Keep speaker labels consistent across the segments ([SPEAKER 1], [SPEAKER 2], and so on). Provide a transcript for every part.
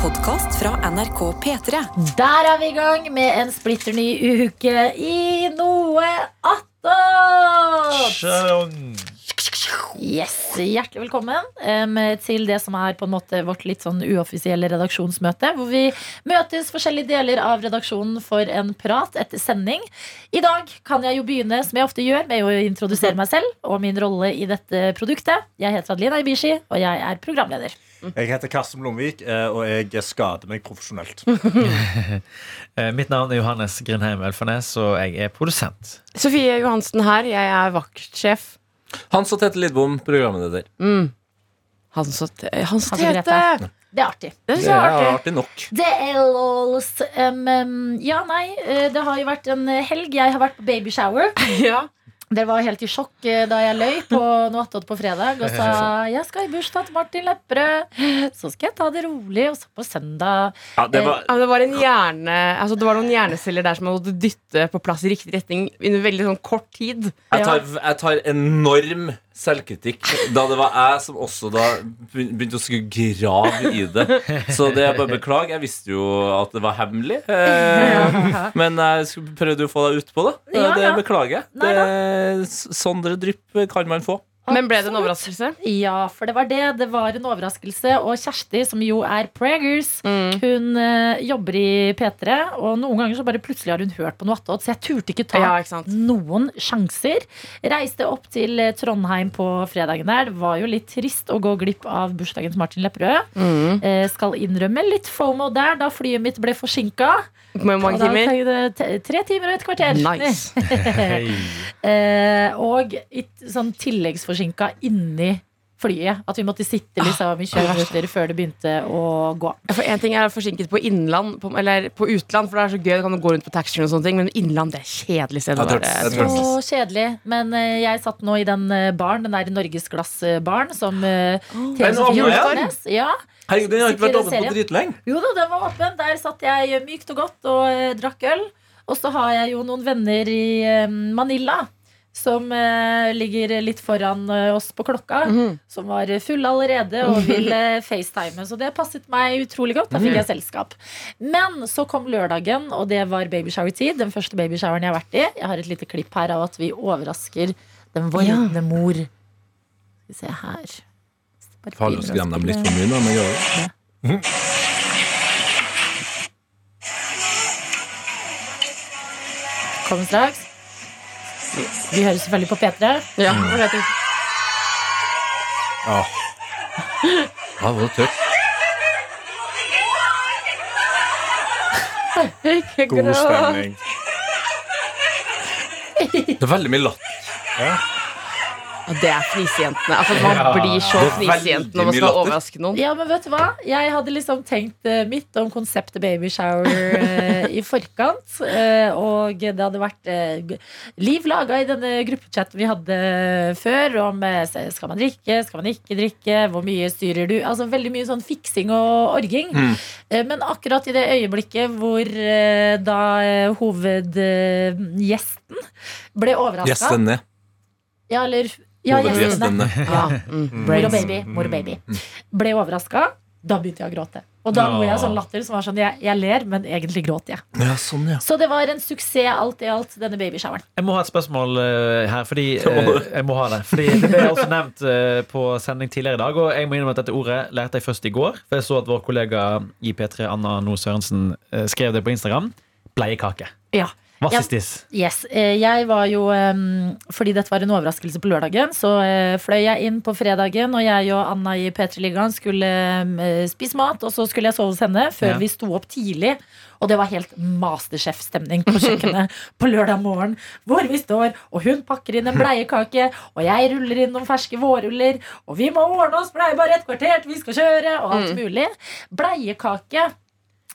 [SPEAKER 1] podkast fra NRK P3.
[SPEAKER 2] Der er vi i gang med en splitter ny uke i noe attåt!
[SPEAKER 3] Sjøen.
[SPEAKER 2] Yes, Hjertelig velkommen em, til det som er på en måte vårt litt sånn uoffisielle redaksjonsmøte. Hvor vi møtes forskjellige deler av redaksjonen for en prat etter sending. I dag kan jeg jo begynne som jeg ofte gjør, med å introdusere meg selv og min rolle i dette produktet. Jeg heter Adelina Ibishi, og jeg er programleder.
[SPEAKER 3] Jeg heter Karsten Blomvik, eh, og jeg skader meg profesjonelt.
[SPEAKER 4] Eh, Mitt navn er Johannes Grindheim Elfernes, og jeg er produsent.
[SPEAKER 5] Sofie Johansen her, jeg er vaktsjef.
[SPEAKER 6] Hans og Tete Lidbom, programleder.
[SPEAKER 5] Han som eh, han som
[SPEAKER 2] Han som
[SPEAKER 5] Tete!
[SPEAKER 2] Det er artig.
[SPEAKER 5] Det synes
[SPEAKER 6] Det
[SPEAKER 5] jeg
[SPEAKER 6] er
[SPEAKER 5] er artig.
[SPEAKER 6] artig nok.
[SPEAKER 2] Det er lols. Um, um, ja, nei, eh, det har jo vært en helg. Jeg har vært på babyshower.
[SPEAKER 5] Ja.
[SPEAKER 2] Dere var helt i sjokk eh, da jeg løy på noe attåt på fredag og sa jeg skal i bursdag til Martin Lepperød. Så skal jeg ta det rolig, og så på søndag.
[SPEAKER 6] Ja, det var
[SPEAKER 5] Ja, men det, var en hjerne, altså det var noen hjerneceller der som man måtte dytte på plass i riktig retning under veldig sånn kort tid.
[SPEAKER 6] Jeg tar, jeg tar enorm selvkritikk da det var jeg som også da begyn- begynte å skulle grave i det. Så det jeg bare beklager. Jeg visste jo at det var hemmelig. Eh, men jeg skulle- prøvde jo å få deg ut på det. Det,
[SPEAKER 2] Ja, ja.
[SPEAKER 6] det beklager jeg.
[SPEAKER 2] Nei
[SPEAKER 6] Det, Sondre Drypp kan man få.
[SPEAKER 5] Men ble det en overraskelse?
[SPEAKER 2] Ja, for det var det. Det var en overraskelse. Og Kjersti, som jo er Pragers,
[SPEAKER 5] Mm.
[SPEAKER 2] hun eh, jobber i P3, og noen ganger så bare plutselig har hun hørt på noe attåt, så jeg turte ikke ta
[SPEAKER 5] Ja, ikke sant?
[SPEAKER 2] noen sjanser. Reiste opp til eh, Trondheim på fredagen der. Det var jo litt trist å gå glipp av bursdagen til Martin Lepperød.
[SPEAKER 5] Mm.
[SPEAKER 2] Eh, skal innrømme litt fomo der, da flyet mitt ble forsinka. Og
[SPEAKER 5] Med mange
[SPEAKER 2] da
[SPEAKER 5] timer.
[SPEAKER 2] tenkte jeg, "T- Tre timer og et kvarter.
[SPEAKER 5] Nice.
[SPEAKER 4] Hei.
[SPEAKER 2] eh, og i t- sånn tilleggsforsinka inni flyet. At vi måtte sitte liksom i
[SPEAKER 5] Ah.
[SPEAKER 2] 20 minutter før det begynte å gå.
[SPEAKER 5] Ja, For en ting er forsinket på innland, på, eller på utland, for det er så gøy. Du kan gå rundt på taxfree og sånne ting, men innland det er et kjedelig sted. å
[SPEAKER 6] Jeg tror-
[SPEAKER 5] være.
[SPEAKER 6] jeg tror-
[SPEAKER 2] Så kjedelig. Men eh, jeg satt nå i den eh, baren, den der Norgesglass-baren som eh, TV
[SPEAKER 6] Den åpner
[SPEAKER 2] Sofie
[SPEAKER 6] igjen?
[SPEAKER 2] Nordnes- Ja.
[SPEAKER 6] Herregud, den har ikke
[SPEAKER 2] Sitter i
[SPEAKER 6] vært åpen
[SPEAKER 2] serien.
[SPEAKER 6] på dritlenge.
[SPEAKER 2] Jo da, den var åpen. Der satt jeg mykt og godt og eh, drakk øl. Og så har jeg jo noen venner i eh, Manila. Som eh, ligger litt foran eh, oss på klokka. Som var fulle allerede og ville facetime. Så det passet meg utrolig godt. Da fikk jeg selskap. Men så kom lørdagen, og det var babyshower-tid. Den første babyshoweren jeg har vært i. Jeg har et lite klipp her av at vi overrasker den vordende mor. Skal vi se her. Bare begynner å spille.
[SPEAKER 6] mye, da. Men
[SPEAKER 2] Kom straks. Vi, vi hører selvfølgelig på P3.
[SPEAKER 5] Ja,
[SPEAKER 6] Mm.
[SPEAKER 5] det vet jeg.
[SPEAKER 6] Ja, det var tøft.
[SPEAKER 3] God stemning.
[SPEAKER 6] Det er veldig mye latter.
[SPEAKER 5] Ja, det er fnisejentene. Altså, man blir så
[SPEAKER 6] Det er veldig
[SPEAKER 5] fnisejente når man
[SPEAKER 6] mye
[SPEAKER 5] skal
[SPEAKER 6] latter.
[SPEAKER 5] overraske noen.
[SPEAKER 2] Ja, men vet du hva? Jeg hadde liksom tenkt eh, mitt om konseptet babyshower eh, i forkant. eh, og det hadde vært eh, g- liv laga i denne gruppechatten vi hadde før, om eh, se- skal man drikke, skal man ikke drikke, hvor mye styrer du? Altså veldig mye sånn fiksing og orging.
[SPEAKER 6] Mm.
[SPEAKER 2] Eh, men akkurat i det øyeblikket hvor eh, da eh, hovedgjesten ble overraska
[SPEAKER 6] Gjesten ned.
[SPEAKER 2] Ja, eller ja, gjestene.
[SPEAKER 6] Hovedgjesten ned.
[SPEAKER 5] Ja. Mm.
[SPEAKER 2] Mor og baby, mor og baby. Ble overraska. Da begynte jeg å gråte. Og da lo jeg sånn latter som var sånn Jeg, jeg ler, men egentlig gråter jeg.
[SPEAKER 6] Ja, sånn, ja.
[SPEAKER 2] Så det var en suksess alt i alt, denne babyshoweren.
[SPEAKER 4] Jeg må ha et spørsmål eh, her, fordi
[SPEAKER 6] Det må
[SPEAKER 4] eh,
[SPEAKER 6] du.
[SPEAKER 4] jeg må ha det. Fordi det ble også nevnt eh, på sending tidligere i dag, og jeg må innrømme at dette ordet lærte jeg først i går. For jeg så at vår kollega i P3, Anna No Sørensen, eh, skrev det på Instagram. Bleiekake.
[SPEAKER 2] Ja.
[SPEAKER 4] Hva
[SPEAKER 2] Ja.
[SPEAKER 4] synes dis?
[SPEAKER 2] Yes, eh, jeg var jo em, Fordi dette var en overraskelse på lørdagen Så eh, fløy jeg inn på fredagen Og jeg og Anna i Petreligaen skulle em, eh, spise mat Og så skulle jeg sove hos henne Før
[SPEAKER 4] Ja.
[SPEAKER 2] vi sto opp tidlig Og det var helt masterchef-stemning på kjøkkenet På lørdag morgen Hvor vi står Og hun pakker inn en bleiekake Og jeg ruller inn noen ferske vårruller Og vi må ordne oss blei bare et kvarter til Vi skal kjøre Og alt mulig Bleiekake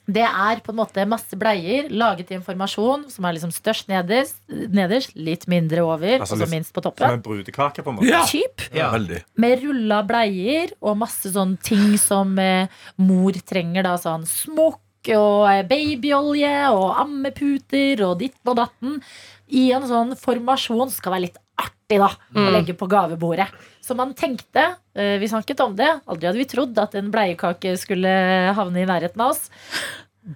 [SPEAKER 2] det er på en måte masse bleier laget i informasjon som er liksom størst nederst, nederst litt mindre over,
[SPEAKER 3] Altså
[SPEAKER 2] og så
[SPEAKER 3] litt-
[SPEAKER 2] minst på
[SPEAKER 3] Som
[SPEAKER 2] toppen.
[SPEAKER 3] en brudekake, på en måte.
[SPEAKER 2] Typ,
[SPEAKER 4] Ja.
[SPEAKER 6] Veldig.
[SPEAKER 2] med rulla bleier og masse sånn ting som eh, mor trenger. da Sånn smokk og eh, babyolje og ammeputer og ditten og datten. I en sånn formasjon som skal være litt artig da å legge på gavebordet. Så man tenkte, eh, vi snakket om det, aldri hadde vi trodd at en bleiekake skulle havne i nærheten av oss.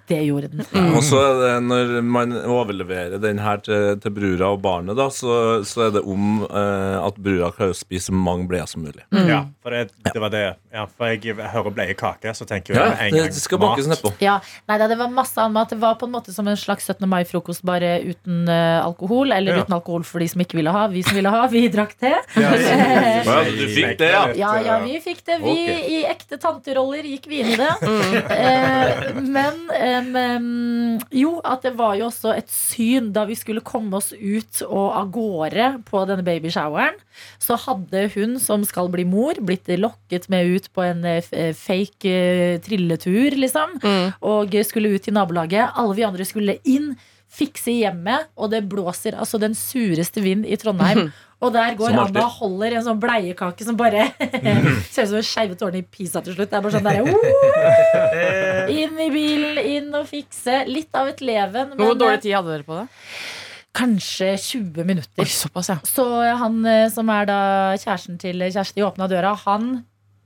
[SPEAKER 2] Det gjorde den.
[SPEAKER 6] Og så er det når man overleverer den her til, til brura og barnet, da, så, så er det om eh, at brura klarer å spise så mange bleier som mulig.
[SPEAKER 3] Ja, for det, det var det. Ja, for jeg hører bleie kake, så tenker jeg
[SPEAKER 6] Ja,
[SPEAKER 3] med en
[SPEAKER 6] det
[SPEAKER 3] gang
[SPEAKER 6] skal bakes
[SPEAKER 3] mat.
[SPEAKER 6] nedpå.
[SPEAKER 2] Ja, nei, da, det var masse annen mat. Det var på en måte som en slags 17. mai-frokost, bare uten eh, alkohol. Eller
[SPEAKER 3] Ja.
[SPEAKER 2] uten alkohol for de som ikke ville ha. Vi som ville ha, vi drakk te.
[SPEAKER 3] Ja,
[SPEAKER 2] Eh,
[SPEAKER 6] Ja, du fikk det, ja.
[SPEAKER 2] Ja, ja, vi fikk det. Vi
[SPEAKER 6] Ok.
[SPEAKER 2] i ekte tanteroller gikk vi inn i det. Eh, men em, em, jo, at det var jo også et syn da vi skulle komme oss ut og av gårde på denne babyshoweren. Så hadde hun som skal bli mor, blitt lokket med ut på en eh, f- eh, fake eh, trilletur, liksom.
[SPEAKER 5] Mm.
[SPEAKER 2] Og skulle ut i nabolaget. Alle vi andre skulle inn. Fikse hjemmet, og det blåser altså den sureste vind i Trondheim.
[SPEAKER 5] Mhm.
[SPEAKER 2] Og der går
[SPEAKER 6] Som alltid.
[SPEAKER 2] Anna og holder en sånn bleiekake som bare Ser ut som en skeive tårne i Pisa til slutt. Det er bare sånn der, «Woo!» Inn i bilen, inn og fikse. Litt av et leven,
[SPEAKER 5] Hvor
[SPEAKER 2] men
[SPEAKER 5] dårlig
[SPEAKER 2] eh,
[SPEAKER 5] tid hadde dere på det?
[SPEAKER 2] kanskje 20 minutter.
[SPEAKER 5] Oi, såpass, ja.
[SPEAKER 2] Så han eh, som er da kjæresten til Kjersti åpna døra, han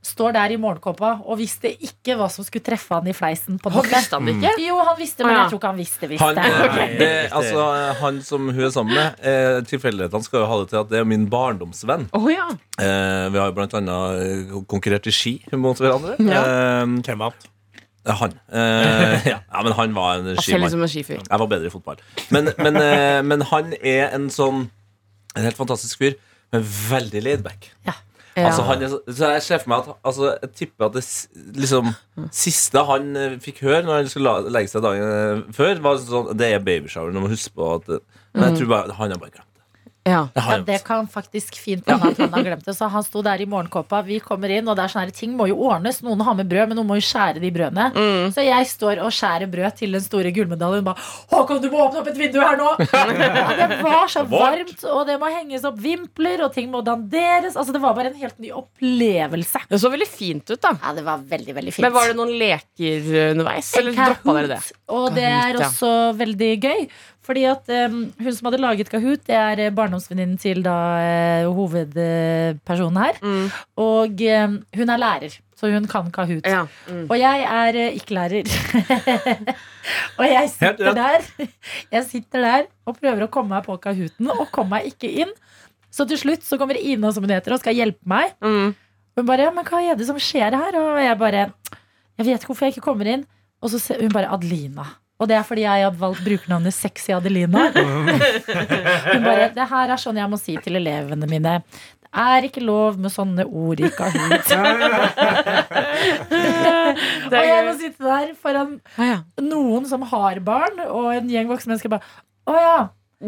[SPEAKER 2] står der i morgenkåpa og visste ikke hva som skulle treffe han i fleisen på
[SPEAKER 5] Hva
[SPEAKER 2] natta.
[SPEAKER 5] visste han det ikke?
[SPEAKER 2] Jo, han visste, men
[SPEAKER 5] Å, ja.
[SPEAKER 2] jeg tror ikke han visste.
[SPEAKER 6] Han,
[SPEAKER 2] visste.
[SPEAKER 6] eh,
[SPEAKER 3] Ok.
[SPEAKER 6] det, altså, eh, han som hun er sammen med, eh, tilfeldighetene skal jo ha det til at det er min barndomsvenn.
[SPEAKER 5] Å ja.
[SPEAKER 6] Eh, vi har jo blant annet eh, konkurrert i ski mot hverandre. Eh,
[SPEAKER 3] Hvem vant?
[SPEAKER 6] han. Eh, ja. ja, men han var en
[SPEAKER 5] Selv
[SPEAKER 6] skimann.
[SPEAKER 5] liksom en skifyr.
[SPEAKER 6] Jeg var bedre i fotball. Men, men, eh, men han er en sånn En helt fantastisk fyr, men veldig laidback.
[SPEAKER 5] Ja.
[SPEAKER 6] Altså, han er så, så jeg ser for meg at altså, Jeg tipper at det s- liksom, siste han eh, fikk høre når han skulle la, legge seg dagen eh, før, var sånn Det er babyshower. Du må huske på at det- Men jeg tror bare han har bare glemt det.
[SPEAKER 5] ja.
[SPEAKER 6] det. har
[SPEAKER 2] Ja,
[SPEAKER 6] han
[SPEAKER 2] det kan faktisk fint hende at han har glemt det. Så han sto der i morgenkåpa, vi kommer inn, og det er sånn her, ting må jo ordnes. Noen har med brød, men noen må jo skjære de brødene. Så jeg står og skjærer brød til den store gullmedaljen. Hun bare 'Håkon, du må åpne opp et vindu her nå!' ja, det var så varmt, og det må henges opp vimpler, og ting må danderes. Altså, det var bare en helt ny opplevelse.
[SPEAKER 5] Det så veldig fint ut, da.
[SPEAKER 2] Ja, det var veldig, veldig fint.
[SPEAKER 5] Men var det noen leker underveis, eller droppa dere det?
[SPEAKER 2] Og det er
[SPEAKER 5] Kahoot, ja.
[SPEAKER 2] også veldig gøy. Fordi at eh, hun som hadde laget Kahoot, det er eh, barndomsvenninnen til da eh, hovedpersonen her.
[SPEAKER 5] Mm.
[SPEAKER 2] Og eh, hun er lærer, så hun kan Kahoot.
[SPEAKER 5] Ja.
[SPEAKER 2] Og jeg er eh, ikke-lærer. og jeg sitter der Jeg sitter der og prøver å komme meg på Kahooten, og kommer meg ikke inn. Så til slutt så kommer Ina som hun heter, og skal hjelpe meg.
[SPEAKER 5] Mm.
[SPEAKER 2] Hun bare, ja, men hva er det som skjer her? Og jeg bare, jeg vet ikke hvorfor jeg ikke kommer inn. Og så ser hun bare Adelina. Og det er fordi jeg har valgt brukernavnet Sexy Adelina. Hun bare, det her er sånn jeg må si til elevene mine. Det er ikke lov med sånne ord i Kahoot. Og jeg må sitte der foran
[SPEAKER 5] Ah, ja.
[SPEAKER 2] noen som har barn, og en gjeng voksne mennesker bare, å ja.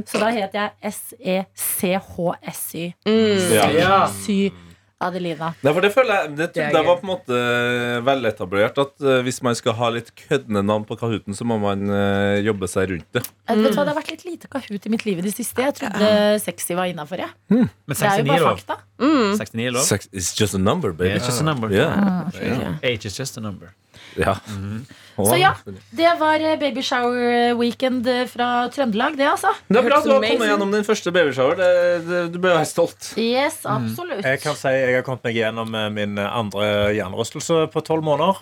[SPEAKER 2] Så da heter jeg E S-E-C-H-S-Y.
[SPEAKER 6] Ja.
[SPEAKER 2] Sy Adelina.
[SPEAKER 6] Nei, for det føler jeg Det,
[SPEAKER 5] Det er
[SPEAKER 6] det
[SPEAKER 5] gøy.
[SPEAKER 6] var på en måte eh, veletablert at eh, hvis man skal ha litt køddende navn på Kahooten, så må man eh, jobbe seg rundt det.
[SPEAKER 2] Jeg Eh, Vet du hva, Det har vært litt lite Kahoot i mitt liv i det siste. Jeg trodde sexy var innafor. Det
[SPEAKER 4] Men
[SPEAKER 2] er jo
[SPEAKER 4] 69 er
[SPEAKER 2] bare Mm.
[SPEAKER 4] lov.
[SPEAKER 2] fakta.
[SPEAKER 4] 69 er lov.
[SPEAKER 6] Sex is just a number, baby.
[SPEAKER 4] It's just a number.
[SPEAKER 6] Yeah.
[SPEAKER 4] Age is just a number.
[SPEAKER 6] Ja.
[SPEAKER 2] Så ja, det var eh, baby shower weekend eh, fra Trøndelag, det, altså.
[SPEAKER 6] Det er
[SPEAKER 5] Hørtes
[SPEAKER 6] bra at du har
[SPEAKER 5] amazing.
[SPEAKER 6] kommet gjennom din første babyshower. Det- det- Du bør være stolt.
[SPEAKER 2] Yes, absolutt.
[SPEAKER 3] Jeg kan si jeg har kommet meg gjennom eh, min andre hjernerystelse på tolv måneder.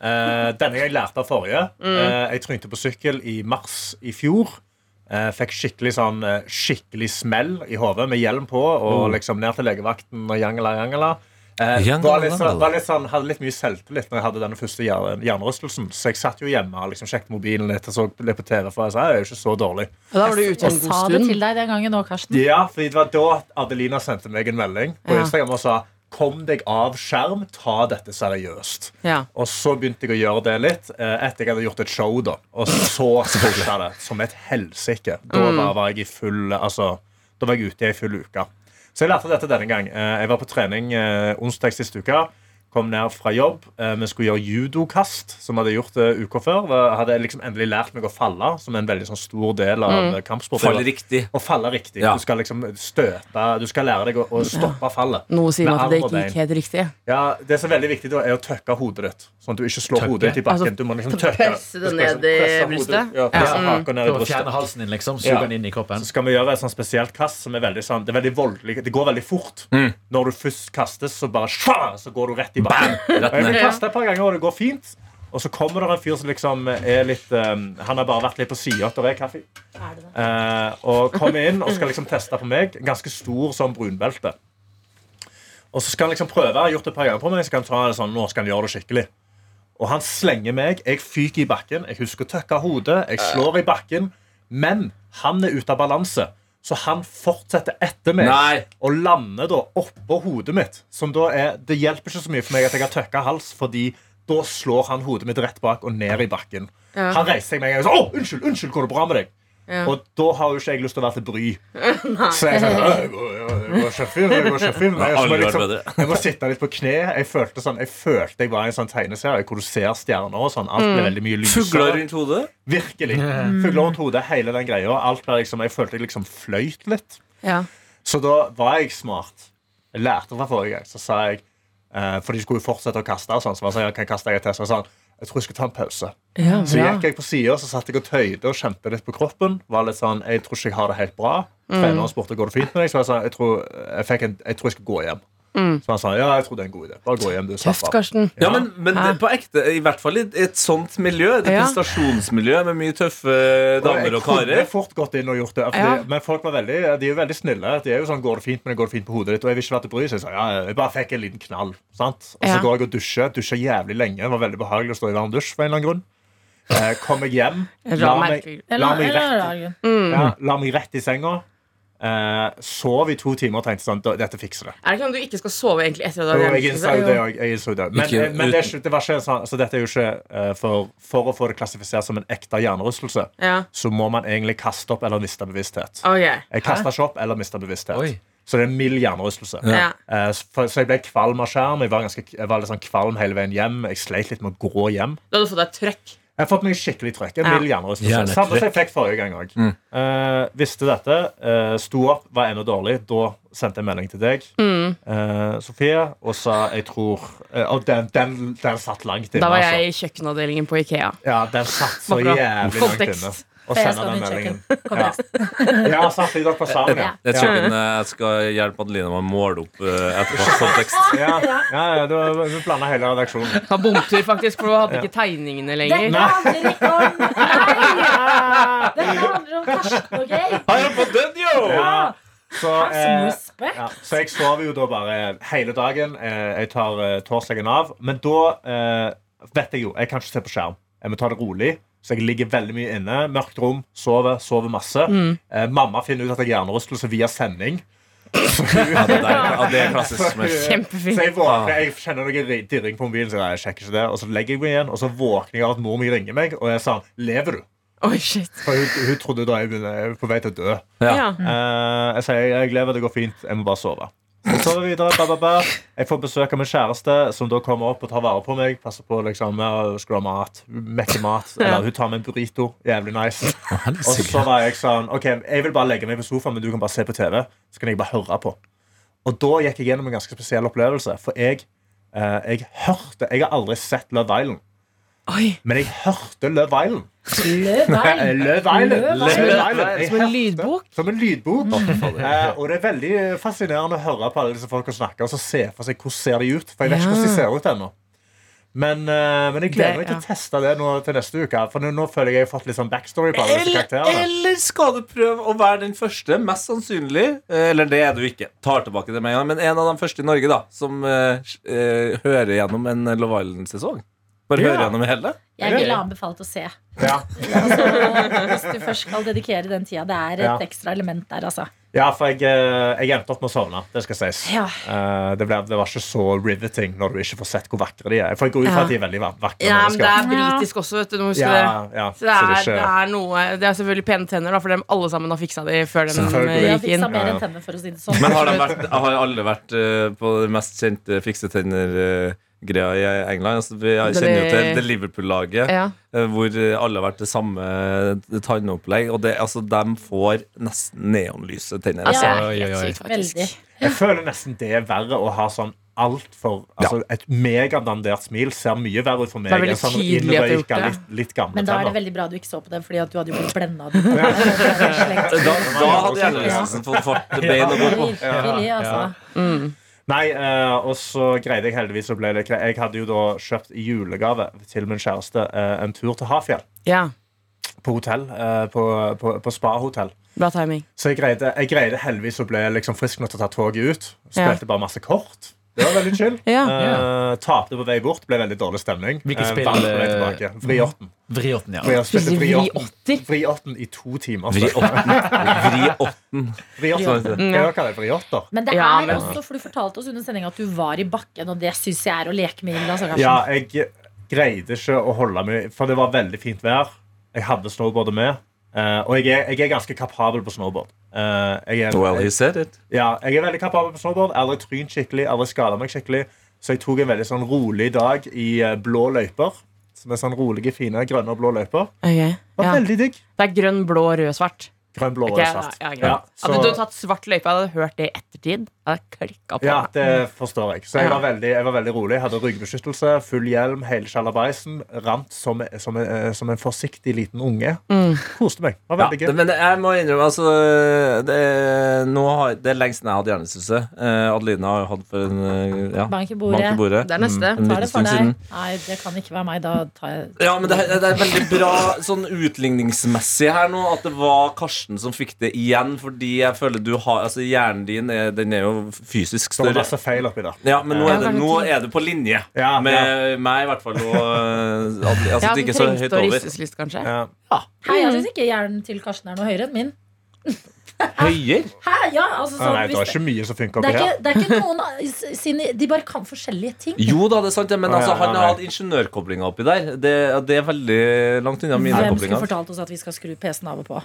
[SPEAKER 3] Eh, denne jeg lærte av forrige. Eh, jeg trynte på sykkel i mars i fjor. Eh, fikk skikkelig sånn eh, skikkelig smell i hodet med hjelm på og liksom ned til legevakten og jangela, jangela. Eh,
[SPEAKER 6] Jangela,
[SPEAKER 3] var litt sånn,
[SPEAKER 6] jangela.
[SPEAKER 3] var litt sånn, hadde litt mye selvtillit når jeg hadde denne første hjerne- hjernerystelsen. Så jeg satt jo hjemme og liksom sjekket mobilen litt og så litt på TV, for jeg sa jeg er jo ikke så dårlig.
[SPEAKER 5] Og da var du ute
[SPEAKER 2] Jeg
[SPEAKER 5] en god
[SPEAKER 2] sa det
[SPEAKER 5] stund.
[SPEAKER 2] til deg den gangen nå, Karsten.
[SPEAKER 3] Ja, fordi det var da at Adelina sendte meg en melding på
[SPEAKER 5] Ja.
[SPEAKER 3] Instagram og sa Kom deg av skjerm, ta dette seriøst.
[SPEAKER 5] Ja.
[SPEAKER 3] Og så begynte jeg å gjøre det litt eh, etter jeg hadde gjort et show. da Og så starta det som et helsike. Da var, var jeg i full Altså, da var jeg ute i ei full uke. Så jeg lærte dette denne gang. Eh, Jeg var på trening eh, onsdag sist uke. Kom ned fra jobb. Eh, Vi skulle gjøre judokast, som vi hadde gjort eh, uka før. Da hadde jeg liksom endelig lært meg å falle, som er en veldig sånn stor del av mm. kampsport.
[SPEAKER 6] Faller riktig.
[SPEAKER 3] Å falle riktig.
[SPEAKER 6] Ja.
[SPEAKER 3] Du skal liksom støpe Du skal lære deg å, å stoppe fallet.
[SPEAKER 5] Noe sier
[SPEAKER 3] Med
[SPEAKER 5] meg at det
[SPEAKER 3] arm og
[SPEAKER 5] ikke gikk helt riktig.
[SPEAKER 3] Ja, Det som er veldig viktig da, er å tøkke hodet ditt. Sånn at du ikke slår
[SPEAKER 4] Tøkke?
[SPEAKER 3] hodet ditt i bakken.
[SPEAKER 5] Altså,
[SPEAKER 3] du må liksom tøkke.
[SPEAKER 5] presse
[SPEAKER 3] Du skal liksom
[SPEAKER 5] det ned i
[SPEAKER 3] presse hodet-
[SPEAKER 5] brystet?
[SPEAKER 3] Ja, presse
[SPEAKER 5] Ja. Mm.
[SPEAKER 3] haken ned i
[SPEAKER 4] Prøv å fjerne
[SPEAKER 3] brystet.
[SPEAKER 4] halsen din, liksom. Suge
[SPEAKER 3] Ja.
[SPEAKER 4] den inn i kroppen.
[SPEAKER 3] Så skal vi gjøre et sånn spesielt kast som er veldig sånn Det er veldig voldelig. Det går veldig fort. Når du først kastes, så bare sja, Så går du rett i bakken. Og
[SPEAKER 6] Rett
[SPEAKER 3] jeg
[SPEAKER 6] ned.
[SPEAKER 3] blir kastet et par ganger, og det går fint. Og så kommer det en fyr som liksom er litt ehm, Han har bare vært litt på sida der er kaffe. Eh, og kommer inn og skal liksom teste på meg. Ganske stor sånn brunbelte. Og så skal han liksom prøve. Jeg har gjort det et par ganger på meg. Så kan han ta det sånn, nå skal han gjøre det skikkelig. Og han slenger meg. Jeg fyker i bakken. Jeg husker å tøkke hodet. Jeg slår i bakken. Men han er ute av balanse. Så han fortsetter etter meg
[SPEAKER 6] Nei.
[SPEAKER 3] og lander da oppå hodet mitt. Som da er, det hjelper ikke så mye for meg at jeg har tøkka hals, fordi da slår han hodet mitt rett bak og ned i bakken. Han reiser seg med en gang og sier 'Å, unnskyld, unnskyld, går det bra med deg?' Og da har jo ikke jeg lyst til å være til bry. Så jeg er sånn «Å, 'Det går- det går kjempefint, det går kjempefint.»
[SPEAKER 6] Ja,
[SPEAKER 3] Jeg
[SPEAKER 6] aldri
[SPEAKER 3] må
[SPEAKER 6] vært
[SPEAKER 3] liksom-
[SPEAKER 6] bedre.
[SPEAKER 3] Jeg må sitte litt på kne. Jeg følte, sånn, jeg følte jeg var i en sånn tegneserie hvor du ser stjerner og sånn. Alt ble veldig mye
[SPEAKER 6] Mm. Fugler
[SPEAKER 3] lysere.
[SPEAKER 6] rundt hodet.
[SPEAKER 3] Virkelig. Fugler rundt hodet, hele den greia. Alt ble liksom, jeg følte jeg liksom fløyt litt.
[SPEAKER 5] Ja.
[SPEAKER 3] Så da var jeg smart. Jeg lærte fra forrige gang. Så sa jeg eh, For de skulle jo fortsette å kaste. og Sånn, så var jeg sånn, jeg kan kaste jeg et test. Og sånn, jeg tror jeg skal ta en pause.
[SPEAKER 5] Ja,
[SPEAKER 3] Så
[SPEAKER 5] bra.
[SPEAKER 3] gikk jeg på sida, så satt jeg og tøyde og kjente litt på kroppen. Var litt sånn, Jeg tror ikke jeg har det helt bra.
[SPEAKER 5] Mm.
[SPEAKER 3] Treneren spurte går det fint med deg. Så jeg sa jeg tror jeg, fikk en, jeg tror jeg skal gå hjem. Så han sa ja, jeg tror det er en god idé. Bare gå hjem, du.
[SPEAKER 5] Mm. Tøft,
[SPEAKER 3] slapp av.
[SPEAKER 5] Karsten.
[SPEAKER 6] Ja, men, men det- på ekte, i hvert fall i et sånt miljø. Et
[SPEAKER 5] Ja.
[SPEAKER 6] prestasjonsmiljø med mye tøffe damer og
[SPEAKER 3] Jeg kunne
[SPEAKER 6] karer.
[SPEAKER 3] fort gått inn og gjort det. Fordi,
[SPEAKER 5] Ja.
[SPEAKER 3] Men folk var veldig, de er jo veldig snille. De er jo sånn, går det fint, men det går det fint på hodet ditt. Og jeg vil ikke være til bry, så jeg sa ja, jeg bare fikk en liten knall. Sant? Og så
[SPEAKER 5] Ja.
[SPEAKER 3] går jeg og dusjer. Dusjer jævlig lenge. Det var veldig behagelig å stå i varm dusj for en eller annen grunn. Eh, kom jeg hjem, la
[SPEAKER 5] Rar
[SPEAKER 3] meg,
[SPEAKER 5] merkelig.
[SPEAKER 3] la
[SPEAKER 2] Eller,
[SPEAKER 3] meg
[SPEAKER 2] eller,
[SPEAKER 3] rett,
[SPEAKER 2] dagen.
[SPEAKER 3] ja, la meg rett i senga. Eh, sov i to timer og tenkte sånn, "Da- dette fikser det.
[SPEAKER 5] Er det ikke sånn at du ikke skal sove egentlig etter
[SPEAKER 3] Jo,
[SPEAKER 5] at du har
[SPEAKER 3] jeg innså jo det òg. Jeg innså det. Men, eh,
[SPEAKER 6] Ikke
[SPEAKER 3] men det, er ikke- det var ikke en sånn, så dette er jo ikke eh, for, for å få det klassifisert som en ekte hjernerystelse,
[SPEAKER 5] Ja.
[SPEAKER 3] så må man egentlig kaste opp eller miste bevissthet.
[SPEAKER 5] Ok.
[SPEAKER 3] Jeg kasta ikke opp eller mista bevissthet.
[SPEAKER 4] Oi.
[SPEAKER 3] Så det er en mild hjernerystelse.
[SPEAKER 5] Ja.
[SPEAKER 3] Eh, så- for- Så jeg ble kvalm av skjerm. Jeg var, ganske, jeg var litt sånn kvalm hele veien hjem. Jeg sleit litt med å gå hjem.
[SPEAKER 5] Da hadde du fått deg trøkk.
[SPEAKER 3] Jeg har fått meg skikkelig trøkk. En
[SPEAKER 5] Ja.
[SPEAKER 3] mild hjernerystelse.
[SPEAKER 6] Hjernetrykk.
[SPEAKER 3] Samme som jeg fikk forrige gang òg.
[SPEAKER 6] Mm.
[SPEAKER 3] Eh, visste dette, eh, sto opp, var ennå dårlig. Da sendte jeg melding til deg,
[SPEAKER 5] Mm.
[SPEAKER 3] eh, Sofie, og sa jeg tror eh, Og den, den, den satt langt inne.
[SPEAKER 5] Da var
[SPEAKER 3] altså.
[SPEAKER 5] jeg i kjøkkenavdelingen på Ikea.
[SPEAKER 3] Ja, den satt så
[SPEAKER 5] Var bra.
[SPEAKER 3] jævlig langt
[SPEAKER 5] Kontekst.
[SPEAKER 3] inne. Og
[SPEAKER 2] Jeg
[SPEAKER 3] sende
[SPEAKER 2] skal
[SPEAKER 3] den
[SPEAKER 2] undersøke.
[SPEAKER 3] meldingen. Ja. ja, satt i dere sammen, ja.
[SPEAKER 6] Jeg
[SPEAKER 3] Ja.
[SPEAKER 6] tror ikke jeg skal hjelpe Adelina med å måle opp eh, etterpå. Kontekst.
[SPEAKER 3] Ja, ja, ja, du, du blanda hele redaksjonen.
[SPEAKER 5] Det var bomtur, faktisk, for du hadde ikke tegningene lenger.
[SPEAKER 2] Dette handler ikke om Nei! Dette handler om Karsten, OK? Ah,
[SPEAKER 6] Har jeg fått den, jo!
[SPEAKER 3] Ja. Så,
[SPEAKER 2] Som
[SPEAKER 3] eh,
[SPEAKER 2] respekt.
[SPEAKER 3] ja. så jeg sover jo da bare hele dagen. Eh, jeg tar eh, torsdagen av. Men da eh, vet jeg jo Jeg kan ikke se på skjerm. Jeg må ta det rolig. Så jeg ligger veldig mye inne. Mørkt rom, sover, sover masse. Eh, mamma finner ut at jeg har hjernerystelse via sending.
[SPEAKER 6] Ja, det, der, ja, det er klassisk
[SPEAKER 3] Så
[SPEAKER 6] smell.
[SPEAKER 5] Kjempefint.
[SPEAKER 3] jeg våkner, jeg kjenner noe ri- dirring på mobilen, så jeg sjekker ikke det. Og så legger jeg meg igjen, og så våkner jeg av at mor mi ringer meg, og jeg sa 'Lever du?'
[SPEAKER 5] Oi, shit.
[SPEAKER 3] For hun, hun trodde da jeg begynte- jeg var på vei til å dø.
[SPEAKER 5] Ja.
[SPEAKER 3] Eh, jeg sier jeg lever, det går fint, jeg må bare sove. Så sover jeg videre, ba, ba, ba. Jeg får besøk av min kjæreste, som da kommer opp og tar vare på meg. Passer på liksom, ja, skulle ha mat, mekke mat Eller hun tar med en burrito. Jævlig nice. Og så var jeg sånn OK, jeg vil bare legge meg på sofaen, men du kan bare se på TV. Så kan jeg bare høre på. Og da gikk jeg gjennom en ganske spesiell opplevelse. For jeg, eh, jeg hørte Jeg har aldri sett Love Island.
[SPEAKER 5] Oi.
[SPEAKER 3] Men jeg hørte Love Island. Eh,
[SPEAKER 2] Løveil.
[SPEAKER 3] Løv Island.
[SPEAKER 2] Løv
[SPEAKER 3] Løv
[SPEAKER 5] Island.
[SPEAKER 3] Island. Jeg
[SPEAKER 5] Som en
[SPEAKER 3] hørte-
[SPEAKER 5] lydbok?
[SPEAKER 3] Som en lydbok. Eh, og det er veldig fascinerende å høre på alle disse folka snakke og så se for seg hvordan ser de ut. For jeg vet ikke
[SPEAKER 5] Ja.
[SPEAKER 3] hvordan de ser ut ennå. Men, eh, men jeg gleder meg
[SPEAKER 5] Det-
[SPEAKER 3] til å teste det nå til neste uke. For nå, nå føler jeg jeg har fått litt sånn backstory på alle disse karakterene.
[SPEAKER 6] eller skal du prøve å være den første, mest sannsynlig? eh, Eller det er du ikke. Tar tilbake det med en gang. Men en av de første i Norge da som eh, eh, hører gjennom en Love Island-sesong. Bare
[SPEAKER 3] Ja.
[SPEAKER 6] hører gjennom hele.
[SPEAKER 2] Jeg ville anbefalt å se.
[SPEAKER 3] Ja.
[SPEAKER 2] Hvis du først skal dedikere den tida. Det er
[SPEAKER 3] Ja.
[SPEAKER 2] et ekstra element der, altså.
[SPEAKER 3] ja, for jeg, eh, jeg endte opp med å sovne. Det skal sies.
[SPEAKER 2] Ja.
[SPEAKER 3] Eh, det, ble, det var ikke så riveting når du ikke får sett hvor vakre de er. For jeg går ut fra at de er veldig va- vakre.
[SPEAKER 5] Ja, men det
[SPEAKER 3] mennesker.
[SPEAKER 5] er britisk også, vet du. Du må huske det.
[SPEAKER 3] ja, ja.
[SPEAKER 5] Så det er,
[SPEAKER 3] ikke-
[SPEAKER 5] det er noe Det er selvfølgelig pene tenner, da, for dem alle sammen har fiksa de før de
[SPEAKER 3] Selvfølgelig.
[SPEAKER 5] eh,
[SPEAKER 2] Jeg
[SPEAKER 5] gikk
[SPEAKER 2] fikk
[SPEAKER 5] inn.
[SPEAKER 2] seg mer enn tenner, for å si det sånn.
[SPEAKER 6] Men har, de vært, har alle vært eh, på det mest kjente fiksetenner greia i England. Altså, vi jeg kjenner jo til det Liverpool-laget
[SPEAKER 5] Ja.
[SPEAKER 6] eh, hvor alle har vært det samme tannopplegg. Og det, altså, de får nesten neonlyse tenner.
[SPEAKER 5] Altså,
[SPEAKER 6] Altså.
[SPEAKER 5] det er
[SPEAKER 4] Oi, oi,
[SPEAKER 5] helt
[SPEAKER 4] oi.
[SPEAKER 5] sykt, faktisk.
[SPEAKER 2] Veldig.
[SPEAKER 3] Jeg føler nesten det er verre å ha sånn altfor altså, Et megadandert smil ser mye verre ut for meg
[SPEAKER 5] Det er veldig
[SPEAKER 3] enn sånn
[SPEAKER 5] tydelig at du har gjort
[SPEAKER 3] innrøyka,
[SPEAKER 5] det.
[SPEAKER 3] litt, litt gamle
[SPEAKER 2] Men da er det
[SPEAKER 3] tenner.
[SPEAKER 2] veldig bra du ikke så på den, Fordi at du hadde jo blitt blenda. av den. Det er slekt.
[SPEAKER 6] Da, da hadde hjernerystelsen fått fart bein å gå på.
[SPEAKER 2] Virkelig, altså.
[SPEAKER 3] Nei, eh, og så greide jeg heldigvis å bli det. Jeg hadde jo da kjøpt i julegave til min kjæreste eh, en tur til Hafjell.
[SPEAKER 5] Ja,
[SPEAKER 3] På hotell. eh, på på, på spahotell.
[SPEAKER 5] bra timing.
[SPEAKER 3] Så jeg greide, jeg greide heldigvis å bli liksom frisk nok til å ta toget ut.
[SPEAKER 5] Ja.
[SPEAKER 3] Spilte bare masse kort. Det var veldig chill.
[SPEAKER 5] Ja.
[SPEAKER 3] Eh, tapte på vei bort. Ble veldig dårlig stemning.
[SPEAKER 4] Hvilket
[SPEAKER 3] Eh,
[SPEAKER 4] spill,
[SPEAKER 3] vant på vei
[SPEAKER 4] eh,
[SPEAKER 3] tilbake. Vriåtten.
[SPEAKER 4] Vriåten, ja.
[SPEAKER 3] For jeg spilte
[SPEAKER 5] Vri
[SPEAKER 3] vriåtten.
[SPEAKER 5] åtter?
[SPEAKER 3] Vriåtten i to timer.
[SPEAKER 6] Vri åtten. Vri åtten.
[SPEAKER 3] Vriåtten. Jeg
[SPEAKER 5] Mm, ja.
[SPEAKER 3] har kalt det vriåtter.
[SPEAKER 2] Men det er
[SPEAKER 5] Ja, men-
[SPEAKER 2] også, for du fortalte oss under sendinga at du var i bakken, og det syns jeg er å leke med altså. Hilda Sagersen.
[SPEAKER 3] Ja, jeg greide ikke å holde meg For det var veldig fint vær. Jeg hadde snowboardet med. eh, og jeg er, jeg er ganske kapabel på snowboard. Eh, jeg,
[SPEAKER 6] Well,
[SPEAKER 3] er,
[SPEAKER 6] he said it.
[SPEAKER 3] ja, jeg er veldig kapabel på snowboard. Aldri trynt skikkelig, aldri skada meg skikkelig. Så jeg tok en veldig sånn rolig dag i eh, blå løyper. Som er sånn rolige, fine grønne og blå løyper.
[SPEAKER 5] Ok,
[SPEAKER 3] Det var
[SPEAKER 5] ja.
[SPEAKER 3] veldig digg.
[SPEAKER 5] Det er grønn, blå, rød, svart.
[SPEAKER 3] Grønn, blå,
[SPEAKER 5] Ok,
[SPEAKER 3] rød,
[SPEAKER 5] ja,
[SPEAKER 3] svart.
[SPEAKER 5] ja, greit.
[SPEAKER 3] Ja,
[SPEAKER 5] Hadde du
[SPEAKER 3] så-
[SPEAKER 5] tatt svart løype, hadde du hørt det i ettertid. Jeg hadde klikka på
[SPEAKER 3] Ja,
[SPEAKER 5] meg.
[SPEAKER 3] det forstår jeg. Så jeg
[SPEAKER 5] Ja.
[SPEAKER 3] var veldig, jeg var veldig rolig. Jeg hadde ryggbeskyttelse, full hjelm, hele sjalabaisen. Rant som, som, eh, som en forsiktig liten unge.
[SPEAKER 5] Mm.
[SPEAKER 3] Koste meg. Det var
[SPEAKER 6] Ja,
[SPEAKER 3] veldig
[SPEAKER 6] det,
[SPEAKER 3] gøy.
[SPEAKER 6] men jeg må innrømme altså, det, nå har, det er lenge siden jeg hadde hjernerystelse. Eh, Adelina har jo hatt for en eh, ja,
[SPEAKER 2] Bank i
[SPEAKER 6] bank
[SPEAKER 2] bordet.
[SPEAKER 6] i bordet.
[SPEAKER 5] Det er
[SPEAKER 3] Mm.
[SPEAKER 5] neste.
[SPEAKER 6] En
[SPEAKER 2] Ta
[SPEAKER 6] liten
[SPEAKER 2] det for
[SPEAKER 6] stund
[SPEAKER 2] deg.
[SPEAKER 6] siden.
[SPEAKER 2] Nei, det kan ikke være meg. Da tar jeg
[SPEAKER 6] Ja, men det, er- det er veldig bra sånn utligningsmessig her nå at det var Karsten som fikk det igjen, fordi jeg føler du har Altså, hjernen din er, den er jo fysisk
[SPEAKER 3] Så det var
[SPEAKER 6] større.
[SPEAKER 3] Sånn masse feil oppi der.
[SPEAKER 6] Ja, men nå er,
[SPEAKER 5] Ja,
[SPEAKER 6] det,
[SPEAKER 5] kanskje
[SPEAKER 6] nå
[SPEAKER 5] ti.
[SPEAKER 6] er du på linje
[SPEAKER 3] Ja,
[SPEAKER 6] med
[SPEAKER 3] ja.
[SPEAKER 6] meg, i hvert fall. Og, eh, Adel- altså,
[SPEAKER 5] Ja,
[SPEAKER 6] det er
[SPEAKER 5] den
[SPEAKER 6] ikke så
[SPEAKER 5] trengte
[SPEAKER 6] høyt
[SPEAKER 5] å
[SPEAKER 6] over.
[SPEAKER 5] ristes litt, kanskje.
[SPEAKER 3] Ja.
[SPEAKER 2] Hei, jeg syns ikke hjernen til Karsten er noe høyere enn min.
[SPEAKER 6] Høyere?
[SPEAKER 2] Hæ? Ja, altså sånn
[SPEAKER 3] Nei, det
[SPEAKER 2] hvis
[SPEAKER 3] var
[SPEAKER 2] det,
[SPEAKER 3] ikke mye som funka
[SPEAKER 2] det,
[SPEAKER 3] oppi
[SPEAKER 2] er
[SPEAKER 3] her.
[SPEAKER 2] ikke, det er ikke noen av sine De bare kan forskjellige ting.
[SPEAKER 6] Jo da, det er sant, ja, men
[SPEAKER 3] Å, ja,
[SPEAKER 6] altså,
[SPEAKER 3] ja,
[SPEAKER 6] han har
[SPEAKER 3] nei.
[SPEAKER 6] hatt ingeniørkoblinga oppi der. Det, det er veldig langt unna mine
[SPEAKER 2] Hvem skulle
[SPEAKER 6] koblinger.
[SPEAKER 2] fortalt oss at vi skal skru PC-en av og på?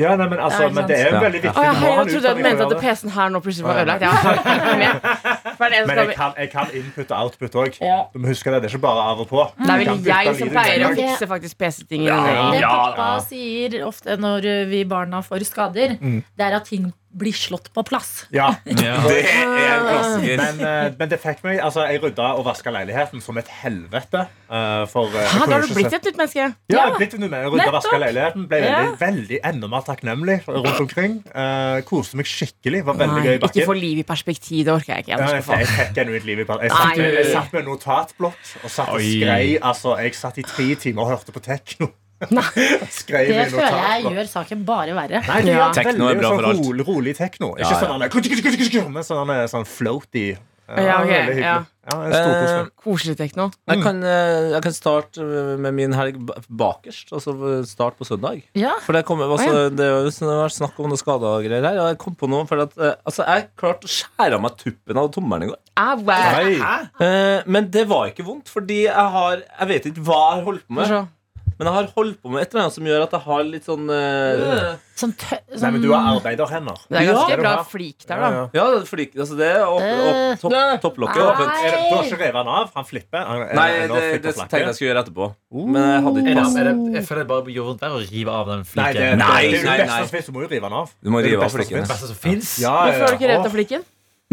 [SPEAKER 3] Ja, nei, men, altså,
[SPEAKER 2] Ja, ikke
[SPEAKER 3] men det er jo
[SPEAKER 6] sant.
[SPEAKER 3] veldig viktig.
[SPEAKER 5] Å, ja,
[SPEAKER 3] Du må
[SPEAKER 5] hei,
[SPEAKER 3] ha en
[SPEAKER 5] jeg trodde
[SPEAKER 3] utdanning
[SPEAKER 5] du
[SPEAKER 3] for å
[SPEAKER 5] mente
[SPEAKER 3] gjøre
[SPEAKER 5] at
[SPEAKER 3] det.
[SPEAKER 5] PC-en her nå plutselig var ødelagt. Ja, jeg er med. For det er det som
[SPEAKER 3] Men jeg
[SPEAKER 5] skal-
[SPEAKER 3] kan, jeg kan input og output òg.
[SPEAKER 2] Ja.
[SPEAKER 3] Du må huske det. Det er ikke bare av og på.
[SPEAKER 5] Mm. Det er vel jeg som pleier å
[SPEAKER 2] gang.
[SPEAKER 5] fikse faktisk PC-ting. i
[SPEAKER 6] Ja,
[SPEAKER 5] denne
[SPEAKER 2] Det
[SPEAKER 5] gjengen.
[SPEAKER 2] pappa sier ofte når vi barna får skader,
[SPEAKER 6] Mm.
[SPEAKER 2] det er at ting blir slått på plass.
[SPEAKER 3] Ja,
[SPEAKER 6] Det er en klassiker.
[SPEAKER 3] men, eh, men det fikk meg Altså, jeg rydda og vaska leiligheten som et helvete. eh, for, eh, jeg
[SPEAKER 5] Hæ, da
[SPEAKER 3] kunne
[SPEAKER 5] har du
[SPEAKER 3] ikke
[SPEAKER 5] blitt
[SPEAKER 3] se-
[SPEAKER 5] et nytt menneske.
[SPEAKER 3] Ja, jeg har blitt en med. Rydda og vaska
[SPEAKER 2] Nettopp.
[SPEAKER 3] leiligheten. Ble veldig, veldig enda mer takknemlig rundt omkring. Eh, koste meg skikkelig. Var veldig gøy i
[SPEAKER 5] Nei, ikke få
[SPEAKER 3] bakken.
[SPEAKER 5] liv i perspektiv. Det orker jeg ikke.
[SPEAKER 3] Ja,
[SPEAKER 5] Anders.
[SPEAKER 3] Jeg jeg fikk genuint liv i ballen. Jeg satt,
[SPEAKER 5] Nei.
[SPEAKER 3] jeg satt med en notatblokk og satt og
[SPEAKER 4] Oi.
[SPEAKER 3] skrei. Altså, jeg satt i tre timer og hørte på tekno. Skrev
[SPEAKER 2] Det
[SPEAKER 3] i en
[SPEAKER 2] føler jeg
[SPEAKER 3] notatblokk.
[SPEAKER 2] gjør saken bare verre.
[SPEAKER 3] Nei, det
[SPEAKER 5] Ja.
[SPEAKER 3] er
[SPEAKER 6] Tekno er
[SPEAKER 3] veldig
[SPEAKER 6] bra for
[SPEAKER 3] sånn
[SPEAKER 6] alt.
[SPEAKER 3] rolig, rolig tekno. Ikke
[SPEAKER 6] Ja, ja.
[SPEAKER 3] sånn han er kut, kut, kut, kut, kut, men sånn han er sånn floaty. Eh,
[SPEAKER 5] Ja, ok,
[SPEAKER 3] veldig hyggelig.
[SPEAKER 5] ja.
[SPEAKER 3] Ja, jeg storkoser meg.
[SPEAKER 5] Koselig tekno.
[SPEAKER 6] Eh, Jeg kan, eh, jeg kan starte med min helg ba- bakerst, altså start på søndag.
[SPEAKER 2] Ja.
[SPEAKER 6] For det, kommer- altså, det er jo sånn- det har vært snakk om noen skader og greier her. Og jeg kom på noe, for at, eh, altså, jeg klarte å skjære av meg tuppen av tommelen i går.
[SPEAKER 5] Ah, wow.
[SPEAKER 3] Nei.
[SPEAKER 6] Eh, Men det var ikke vondt, fordi jeg har Jeg vet ikke hva jeg har holdt på
[SPEAKER 5] Få
[SPEAKER 6] med,
[SPEAKER 5] se.
[SPEAKER 6] men jeg har holdt på med et eller annet som gjør at jeg har litt sånn eh,
[SPEAKER 2] Sånn tø
[SPEAKER 3] Nei,
[SPEAKER 2] sånn,
[SPEAKER 3] men du har arbeiderhender.
[SPEAKER 5] Det er
[SPEAKER 3] Ja,
[SPEAKER 5] ganske
[SPEAKER 3] du
[SPEAKER 5] bra
[SPEAKER 3] har.
[SPEAKER 5] flik der,
[SPEAKER 3] Ja,
[SPEAKER 5] da.
[SPEAKER 3] ja.
[SPEAKER 6] Ja, det er flik, altså det er opp, opp, topp, topplokket er åpent.
[SPEAKER 3] Er det, du har ikke revet han av? Han flipper? Han,
[SPEAKER 6] Nei,
[SPEAKER 3] eller
[SPEAKER 6] det,
[SPEAKER 3] flipper
[SPEAKER 6] det
[SPEAKER 3] flakke?
[SPEAKER 6] tenkte jeg skulle gjøre etterpå. Men jeg hadde ikke
[SPEAKER 4] Er det,
[SPEAKER 6] plass.
[SPEAKER 4] er det, jeg føler det bare gjør vondt verre å rive av den
[SPEAKER 3] Nei, det,
[SPEAKER 4] fliken.
[SPEAKER 3] det, det
[SPEAKER 6] Nei,
[SPEAKER 3] er jo
[SPEAKER 6] nei,
[SPEAKER 3] det beste
[SPEAKER 6] nei.
[SPEAKER 3] som finnes. Du må jo rive han av.
[SPEAKER 6] Du må
[SPEAKER 3] Det er
[SPEAKER 6] rive
[SPEAKER 3] det
[SPEAKER 6] av
[SPEAKER 3] beste som
[SPEAKER 6] flikken.
[SPEAKER 3] finnes.
[SPEAKER 4] Det beste som fins.
[SPEAKER 3] Ja, ja,
[SPEAKER 5] Hvorfor har du ikke
[SPEAKER 3] ja.
[SPEAKER 5] revet av fliken?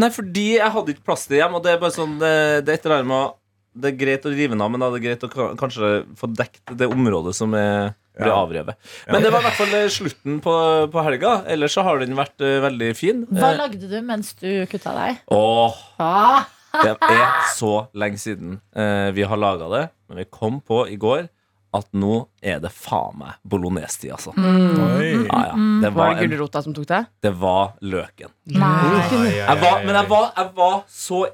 [SPEAKER 6] Nei, fordi jeg hadde ikke plass til hjem. Og det er bare sånn Det, det er et eller annet med å- det er greit å rive den av, men da er det greit å ka- kanskje få dekt det området som er ble
[SPEAKER 3] Ja.
[SPEAKER 6] avrevet. Men det var i hvert fall eh, slutten på, på helga. Ellers så har den vært eh, veldig fin.
[SPEAKER 2] hva lagde du mens du kutta deg?
[SPEAKER 6] Åh,
[SPEAKER 2] Ah,
[SPEAKER 6] det er så lenge siden eh, vi har laga det. Men vi kom på i går at nå er det faen meg bolognese-tid, altså.
[SPEAKER 3] Oi.
[SPEAKER 6] Ja, ja.
[SPEAKER 5] Var
[SPEAKER 6] Det, var
[SPEAKER 5] det
[SPEAKER 6] en,
[SPEAKER 5] gulrota som tok det?
[SPEAKER 6] det var løken.
[SPEAKER 2] nei.
[SPEAKER 6] Jeg var, men jeg var, jeg var så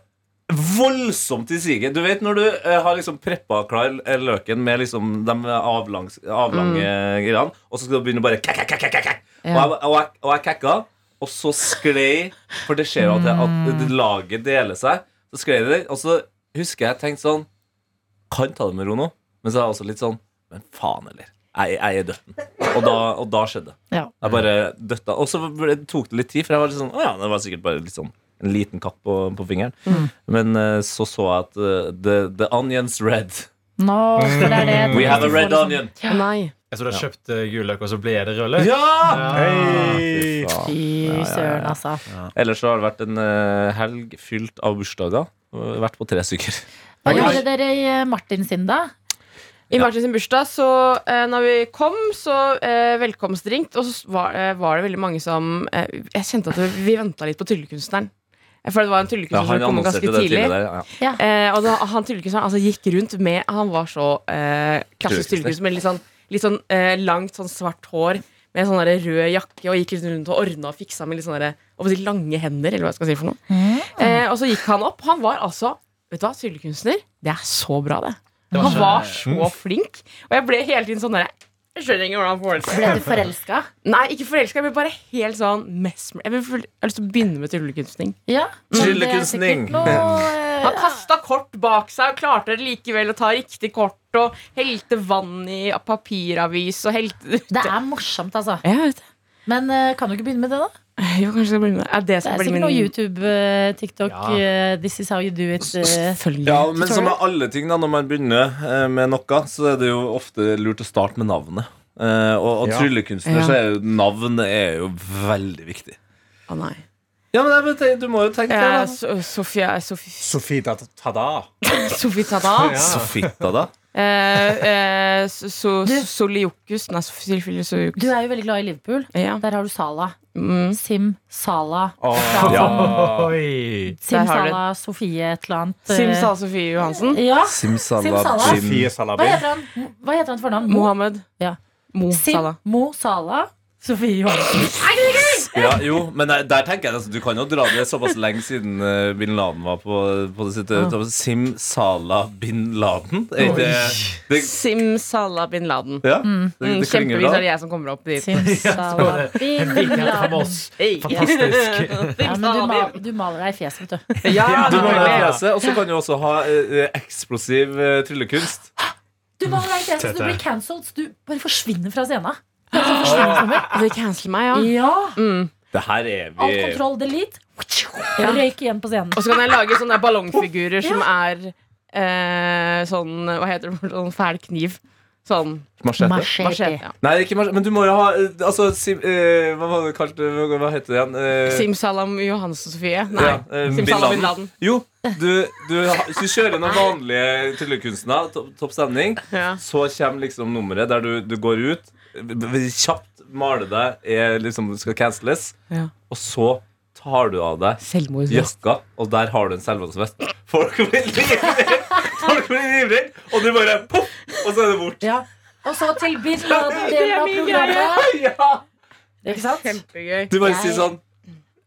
[SPEAKER 6] voldsomt i siget. Du vet når du eh, har liksom preppa klar eh, løken med liksom de avlangs, avlange greiene, og så skal du begynne å bare kak, kak, kak, kak, kak. Og, jeg, og, jeg, og jeg kakka, og så sklei For det skjer jo at, det, at det laget deler seg. Så sklei det, og så husker jeg tenkte sånn Kan ta det med ro nå, men så er jeg også litt sånn Men faen, eller? Jeg, jeg er døtten. Og da, og da skjedde det.
[SPEAKER 2] Ja.
[SPEAKER 6] Jeg bare døtta. Og så ble- tok det litt tid, for jeg var litt sånn Å ja, det var sikkert bare litt sånn en liten kapp på, på fingeren. Men eh, så så jeg at eh, the, the onion's red.
[SPEAKER 2] Nå, for det er det
[SPEAKER 6] Mm. We have a red onion.
[SPEAKER 5] Å nei.
[SPEAKER 4] Jeg så du har kjøpt eh, gul løk, og så ble det rød løk?
[SPEAKER 6] Ja!
[SPEAKER 3] Hei!
[SPEAKER 6] Fy faen.
[SPEAKER 2] Fy søren, altså.
[SPEAKER 6] Ellers så har det vært en eh, helg fylt av bursdager. Eh, Vært på tre stykker.
[SPEAKER 2] Hva gjorde dere i eh, Martin sin, da?
[SPEAKER 5] I Martin sin bursdag, så eh, når vi kom, så eh, velkomstdrinkt. Og så var, eh, var det veldig mange som eh, Jeg kjente at vi venta litt på Tryllekunstneren. Jeg føler det var en
[SPEAKER 6] Ja,
[SPEAKER 5] tryllekunstner som
[SPEAKER 6] han
[SPEAKER 5] kom
[SPEAKER 6] annonserte
[SPEAKER 5] ganske
[SPEAKER 6] det
[SPEAKER 5] tidlig.
[SPEAKER 6] tidligere. Ja.
[SPEAKER 5] Eh, og da, han tryllekunstneren altså, gikk rundt med Han var så eh, klassisk
[SPEAKER 6] Tryllekunstner.
[SPEAKER 5] tryllekunstner med litt sånn, litt sånn eh, langt, sånn svart hår. Med sånn der rød jakke og gikk liksom rundt og ordna og fiksa med litt sånne der, hva skal jeg si, lange hender. Eller hva jeg skal si for noe eh, Og så gikk han opp. Han var altså Vet du hva, tryllekunstner. Det er så bra, det.
[SPEAKER 4] Det var
[SPEAKER 5] han
[SPEAKER 4] så- Mm.
[SPEAKER 5] var så flink. Og jeg ble hele tiden sånn derre Jeg skjønner ikke hvordan han får det til.
[SPEAKER 2] Ble du forelska?
[SPEAKER 5] Nei, ikke forelska. Jeg ble bare helt sånn mesmer. Jeg, ble full- jeg har lyst til å begynne med tryllekunstning.
[SPEAKER 2] Ja. men det er sikkert
[SPEAKER 6] Tryllekunstning.
[SPEAKER 2] noe- eh,
[SPEAKER 5] Han kasta kort bak seg og klarte det likevel å ta riktig kort og helte vann i papiravis og helte
[SPEAKER 2] Det er morsomt, altså.
[SPEAKER 5] Jeg vet det.
[SPEAKER 2] Men eh, kan du ikke begynne med det, da?
[SPEAKER 5] Jo, kanskje det skal bli med. Er det
[SPEAKER 2] Det
[SPEAKER 5] som
[SPEAKER 2] er
[SPEAKER 5] blir
[SPEAKER 2] sikkert
[SPEAKER 5] min
[SPEAKER 2] noe YouTube, eh, TikTok,
[SPEAKER 4] Ja.
[SPEAKER 2] eh, This is how you do it. eh.
[SPEAKER 5] Selvfølgelig.
[SPEAKER 6] Ja, men som med alle ting, da når man begynner eh, med noe, så er det jo ofte lurt å starte med navnet. Eh, og og
[SPEAKER 3] Ja.
[SPEAKER 6] tryllekunstner,
[SPEAKER 5] Ja.
[SPEAKER 6] så er jo navn er jo veldig viktig. altså.
[SPEAKER 5] Å, nei.
[SPEAKER 6] Ja, men jeg vet det, Du må jo tenke
[SPEAKER 5] Eh,
[SPEAKER 6] det,
[SPEAKER 5] So- Sofia Sofie
[SPEAKER 3] Sofie Tada.
[SPEAKER 5] Sofie Tata.
[SPEAKER 6] da. Så fitta, da.
[SPEAKER 5] Eh, eh, so, so,
[SPEAKER 2] Du-
[SPEAKER 5] Soliokus Nei, Sofie Soliokus.
[SPEAKER 2] Du er jo veldig glad i Liverpool.
[SPEAKER 5] Ja.
[SPEAKER 2] Der har du Sala.
[SPEAKER 5] Mm.
[SPEAKER 2] Sim Sala.
[SPEAKER 3] Åh,
[SPEAKER 4] Oi.
[SPEAKER 2] Sim
[SPEAKER 5] Der har du-
[SPEAKER 2] Sala, Sofie et eller annet. eh.
[SPEAKER 5] Simsa Sofie Johansen.
[SPEAKER 2] Ja.
[SPEAKER 6] Simsalab.
[SPEAKER 2] Simsalab.
[SPEAKER 6] Sim.
[SPEAKER 3] Sofie
[SPEAKER 2] Hva
[SPEAKER 3] Salabi.
[SPEAKER 2] heter han? Hva heter han til fornavn? Mo?
[SPEAKER 5] Mohammed.
[SPEAKER 2] Ja.
[SPEAKER 5] Mo
[SPEAKER 2] Sim
[SPEAKER 5] Salah.
[SPEAKER 2] Mo Sala. Sofie Johansen.
[SPEAKER 6] Ja, jo, men der, der tenker jeg nesten Du kan jo dra det såpass lenge siden eh, bin Laden var på, på det sitt.
[SPEAKER 5] Ah.
[SPEAKER 6] Simsala bin Laden? Er ikke det, det,
[SPEAKER 5] Sim Salah bin Laden.
[SPEAKER 6] ja, det,
[SPEAKER 5] Mm,
[SPEAKER 6] det klinger
[SPEAKER 5] Kjempevis
[SPEAKER 6] jo
[SPEAKER 5] er det
[SPEAKER 6] da.
[SPEAKER 5] jeg som kommer opp dit.
[SPEAKER 2] Sim Sala.
[SPEAKER 4] En vikhet fra oss.
[SPEAKER 5] Hey.
[SPEAKER 4] Fantastisk.
[SPEAKER 2] Ja, men du, mal, du maler deg i fjeset, vet du.
[SPEAKER 5] Ja,
[SPEAKER 6] Du må ha
[SPEAKER 5] selvfølgelig.
[SPEAKER 6] fjeset, og så kan du også ha eh, eksplosiv eh, tryllekunst.
[SPEAKER 2] Du maler deg i fjeset, så du
[SPEAKER 4] Tete.
[SPEAKER 2] blir cancelled. Du bare forsvinner fra scenen.
[SPEAKER 5] Det canceler meg, ja.
[SPEAKER 2] Ja!
[SPEAKER 6] Det her er vi
[SPEAKER 2] Alt kontroll delete. Røyk igjen på scenen.
[SPEAKER 5] Og så kan jeg lage sånne ballongfigurer som er eh, sånn Hva heter det? Sånn fæl kniv. Sånn
[SPEAKER 6] Machete.
[SPEAKER 5] machete. Ja.
[SPEAKER 6] Nei, ikke machete, men du må jo ha eh, altså, sim, eh, hva, var det kalt, eh, hva heter det igjen? Eh,
[SPEAKER 5] Simsalam Johansen Sofie. Nei.
[SPEAKER 6] ja, eh,
[SPEAKER 5] Simsalabim
[SPEAKER 6] Bin Laden.
[SPEAKER 5] Laden.
[SPEAKER 6] Jo, du, du, ha- hvis du kjører noen vanlige tryllekunstnere, to, topp stemning,
[SPEAKER 5] Ja.
[SPEAKER 6] så kommer liksom nummeret der du, du går ut, v- v- kjapt maler deg, er liksom skal canceles,
[SPEAKER 5] Ja.
[SPEAKER 6] og så tar du av deg
[SPEAKER 5] Selvmordsvest.
[SPEAKER 6] jakka, og der har du en selvmordsvest. Folk blir livredd! Folk blir livredd, og du bare poff, og så er det bort.
[SPEAKER 2] Ja. Og så til Bin Laden-delen av
[SPEAKER 5] min
[SPEAKER 2] programmet.
[SPEAKER 6] Ja.
[SPEAKER 2] Ikke sant?
[SPEAKER 5] Kjempegøy.
[SPEAKER 6] Du bare
[SPEAKER 2] Jeg-
[SPEAKER 6] sier sånn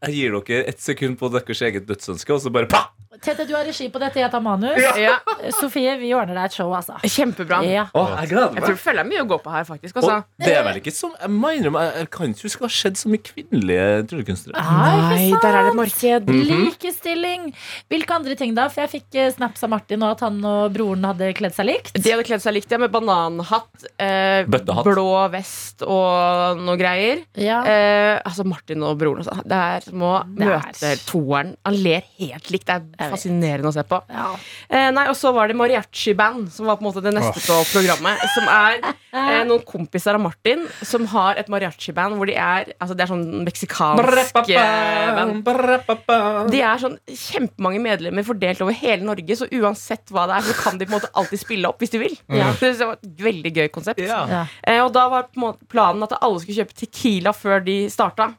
[SPEAKER 6] Jeg gir dere ett sekund på deres eget dødsønske, og så bare pa!
[SPEAKER 2] Tete, du har regi på dette. Jeg tar manus.
[SPEAKER 5] Ja.
[SPEAKER 2] Sofie, vi ordner deg et show, altså.
[SPEAKER 5] Kjempebra.
[SPEAKER 2] Ja.
[SPEAKER 6] Å, jeg gleder
[SPEAKER 5] Jeg tror det følger mye å gå på her, faktisk. Altså.
[SPEAKER 6] Og det er vel ikke som Jeg må innrømme, jeg, jeg kan ikke huske det har skjedd så mye kvinnelige tryllekunstnere.
[SPEAKER 5] Nei, der er det et marked.
[SPEAKER 2] Likestilling. Hvilke andre ting, da? For jeg fikk eh, snaps av Martin og at han og broren hadde kledd seg likt.
[SPEAKER 5] De hadde kledd seg likt, ja, med bananhatt, eh,
[SPEAKER 6] Bøttehatt.
[SPEAKER 5] blå vest og noe greier.
[SPEAKER 2] Ja.
[SPEAKER 5] Eh, altså Martin og broren altså, Det er som å
[SPEAKER 2] Det er-
[SPEAKER 5] møte toeren. Han ler helt likt. Det
[SPEAKER 2] Jeg
[SPEAKER 5] er
[SPEAKER 2] vet.
[SPEAKER 5] fascinerende å se på.
[SPEAKER 2] Ja.
[SPEAKER 5] Eh, nei, Og så var det mariachi-band, som var på en måte det neste på programmet. Som er eh, noen kompiser av Martin som har et mariachi-band hvor de er Altså Det er sånn meksikansk eh, band. De er sånn kjempemange medlemmer fordelt over hele Norge, så uansett hva det er, så kan de på en måte alltid spille opp hvis de vil.
[SPEAKER 2] Ja.
[SPEAKER 5] Så Det var et veldig gøy konsept.
[SPEAKER 4] Ja.
[SPEAKER 2] Ja.
[SPEAKER 5] Eh, og da var på en måte planen at alle skulle kjøpe tequila før de starta.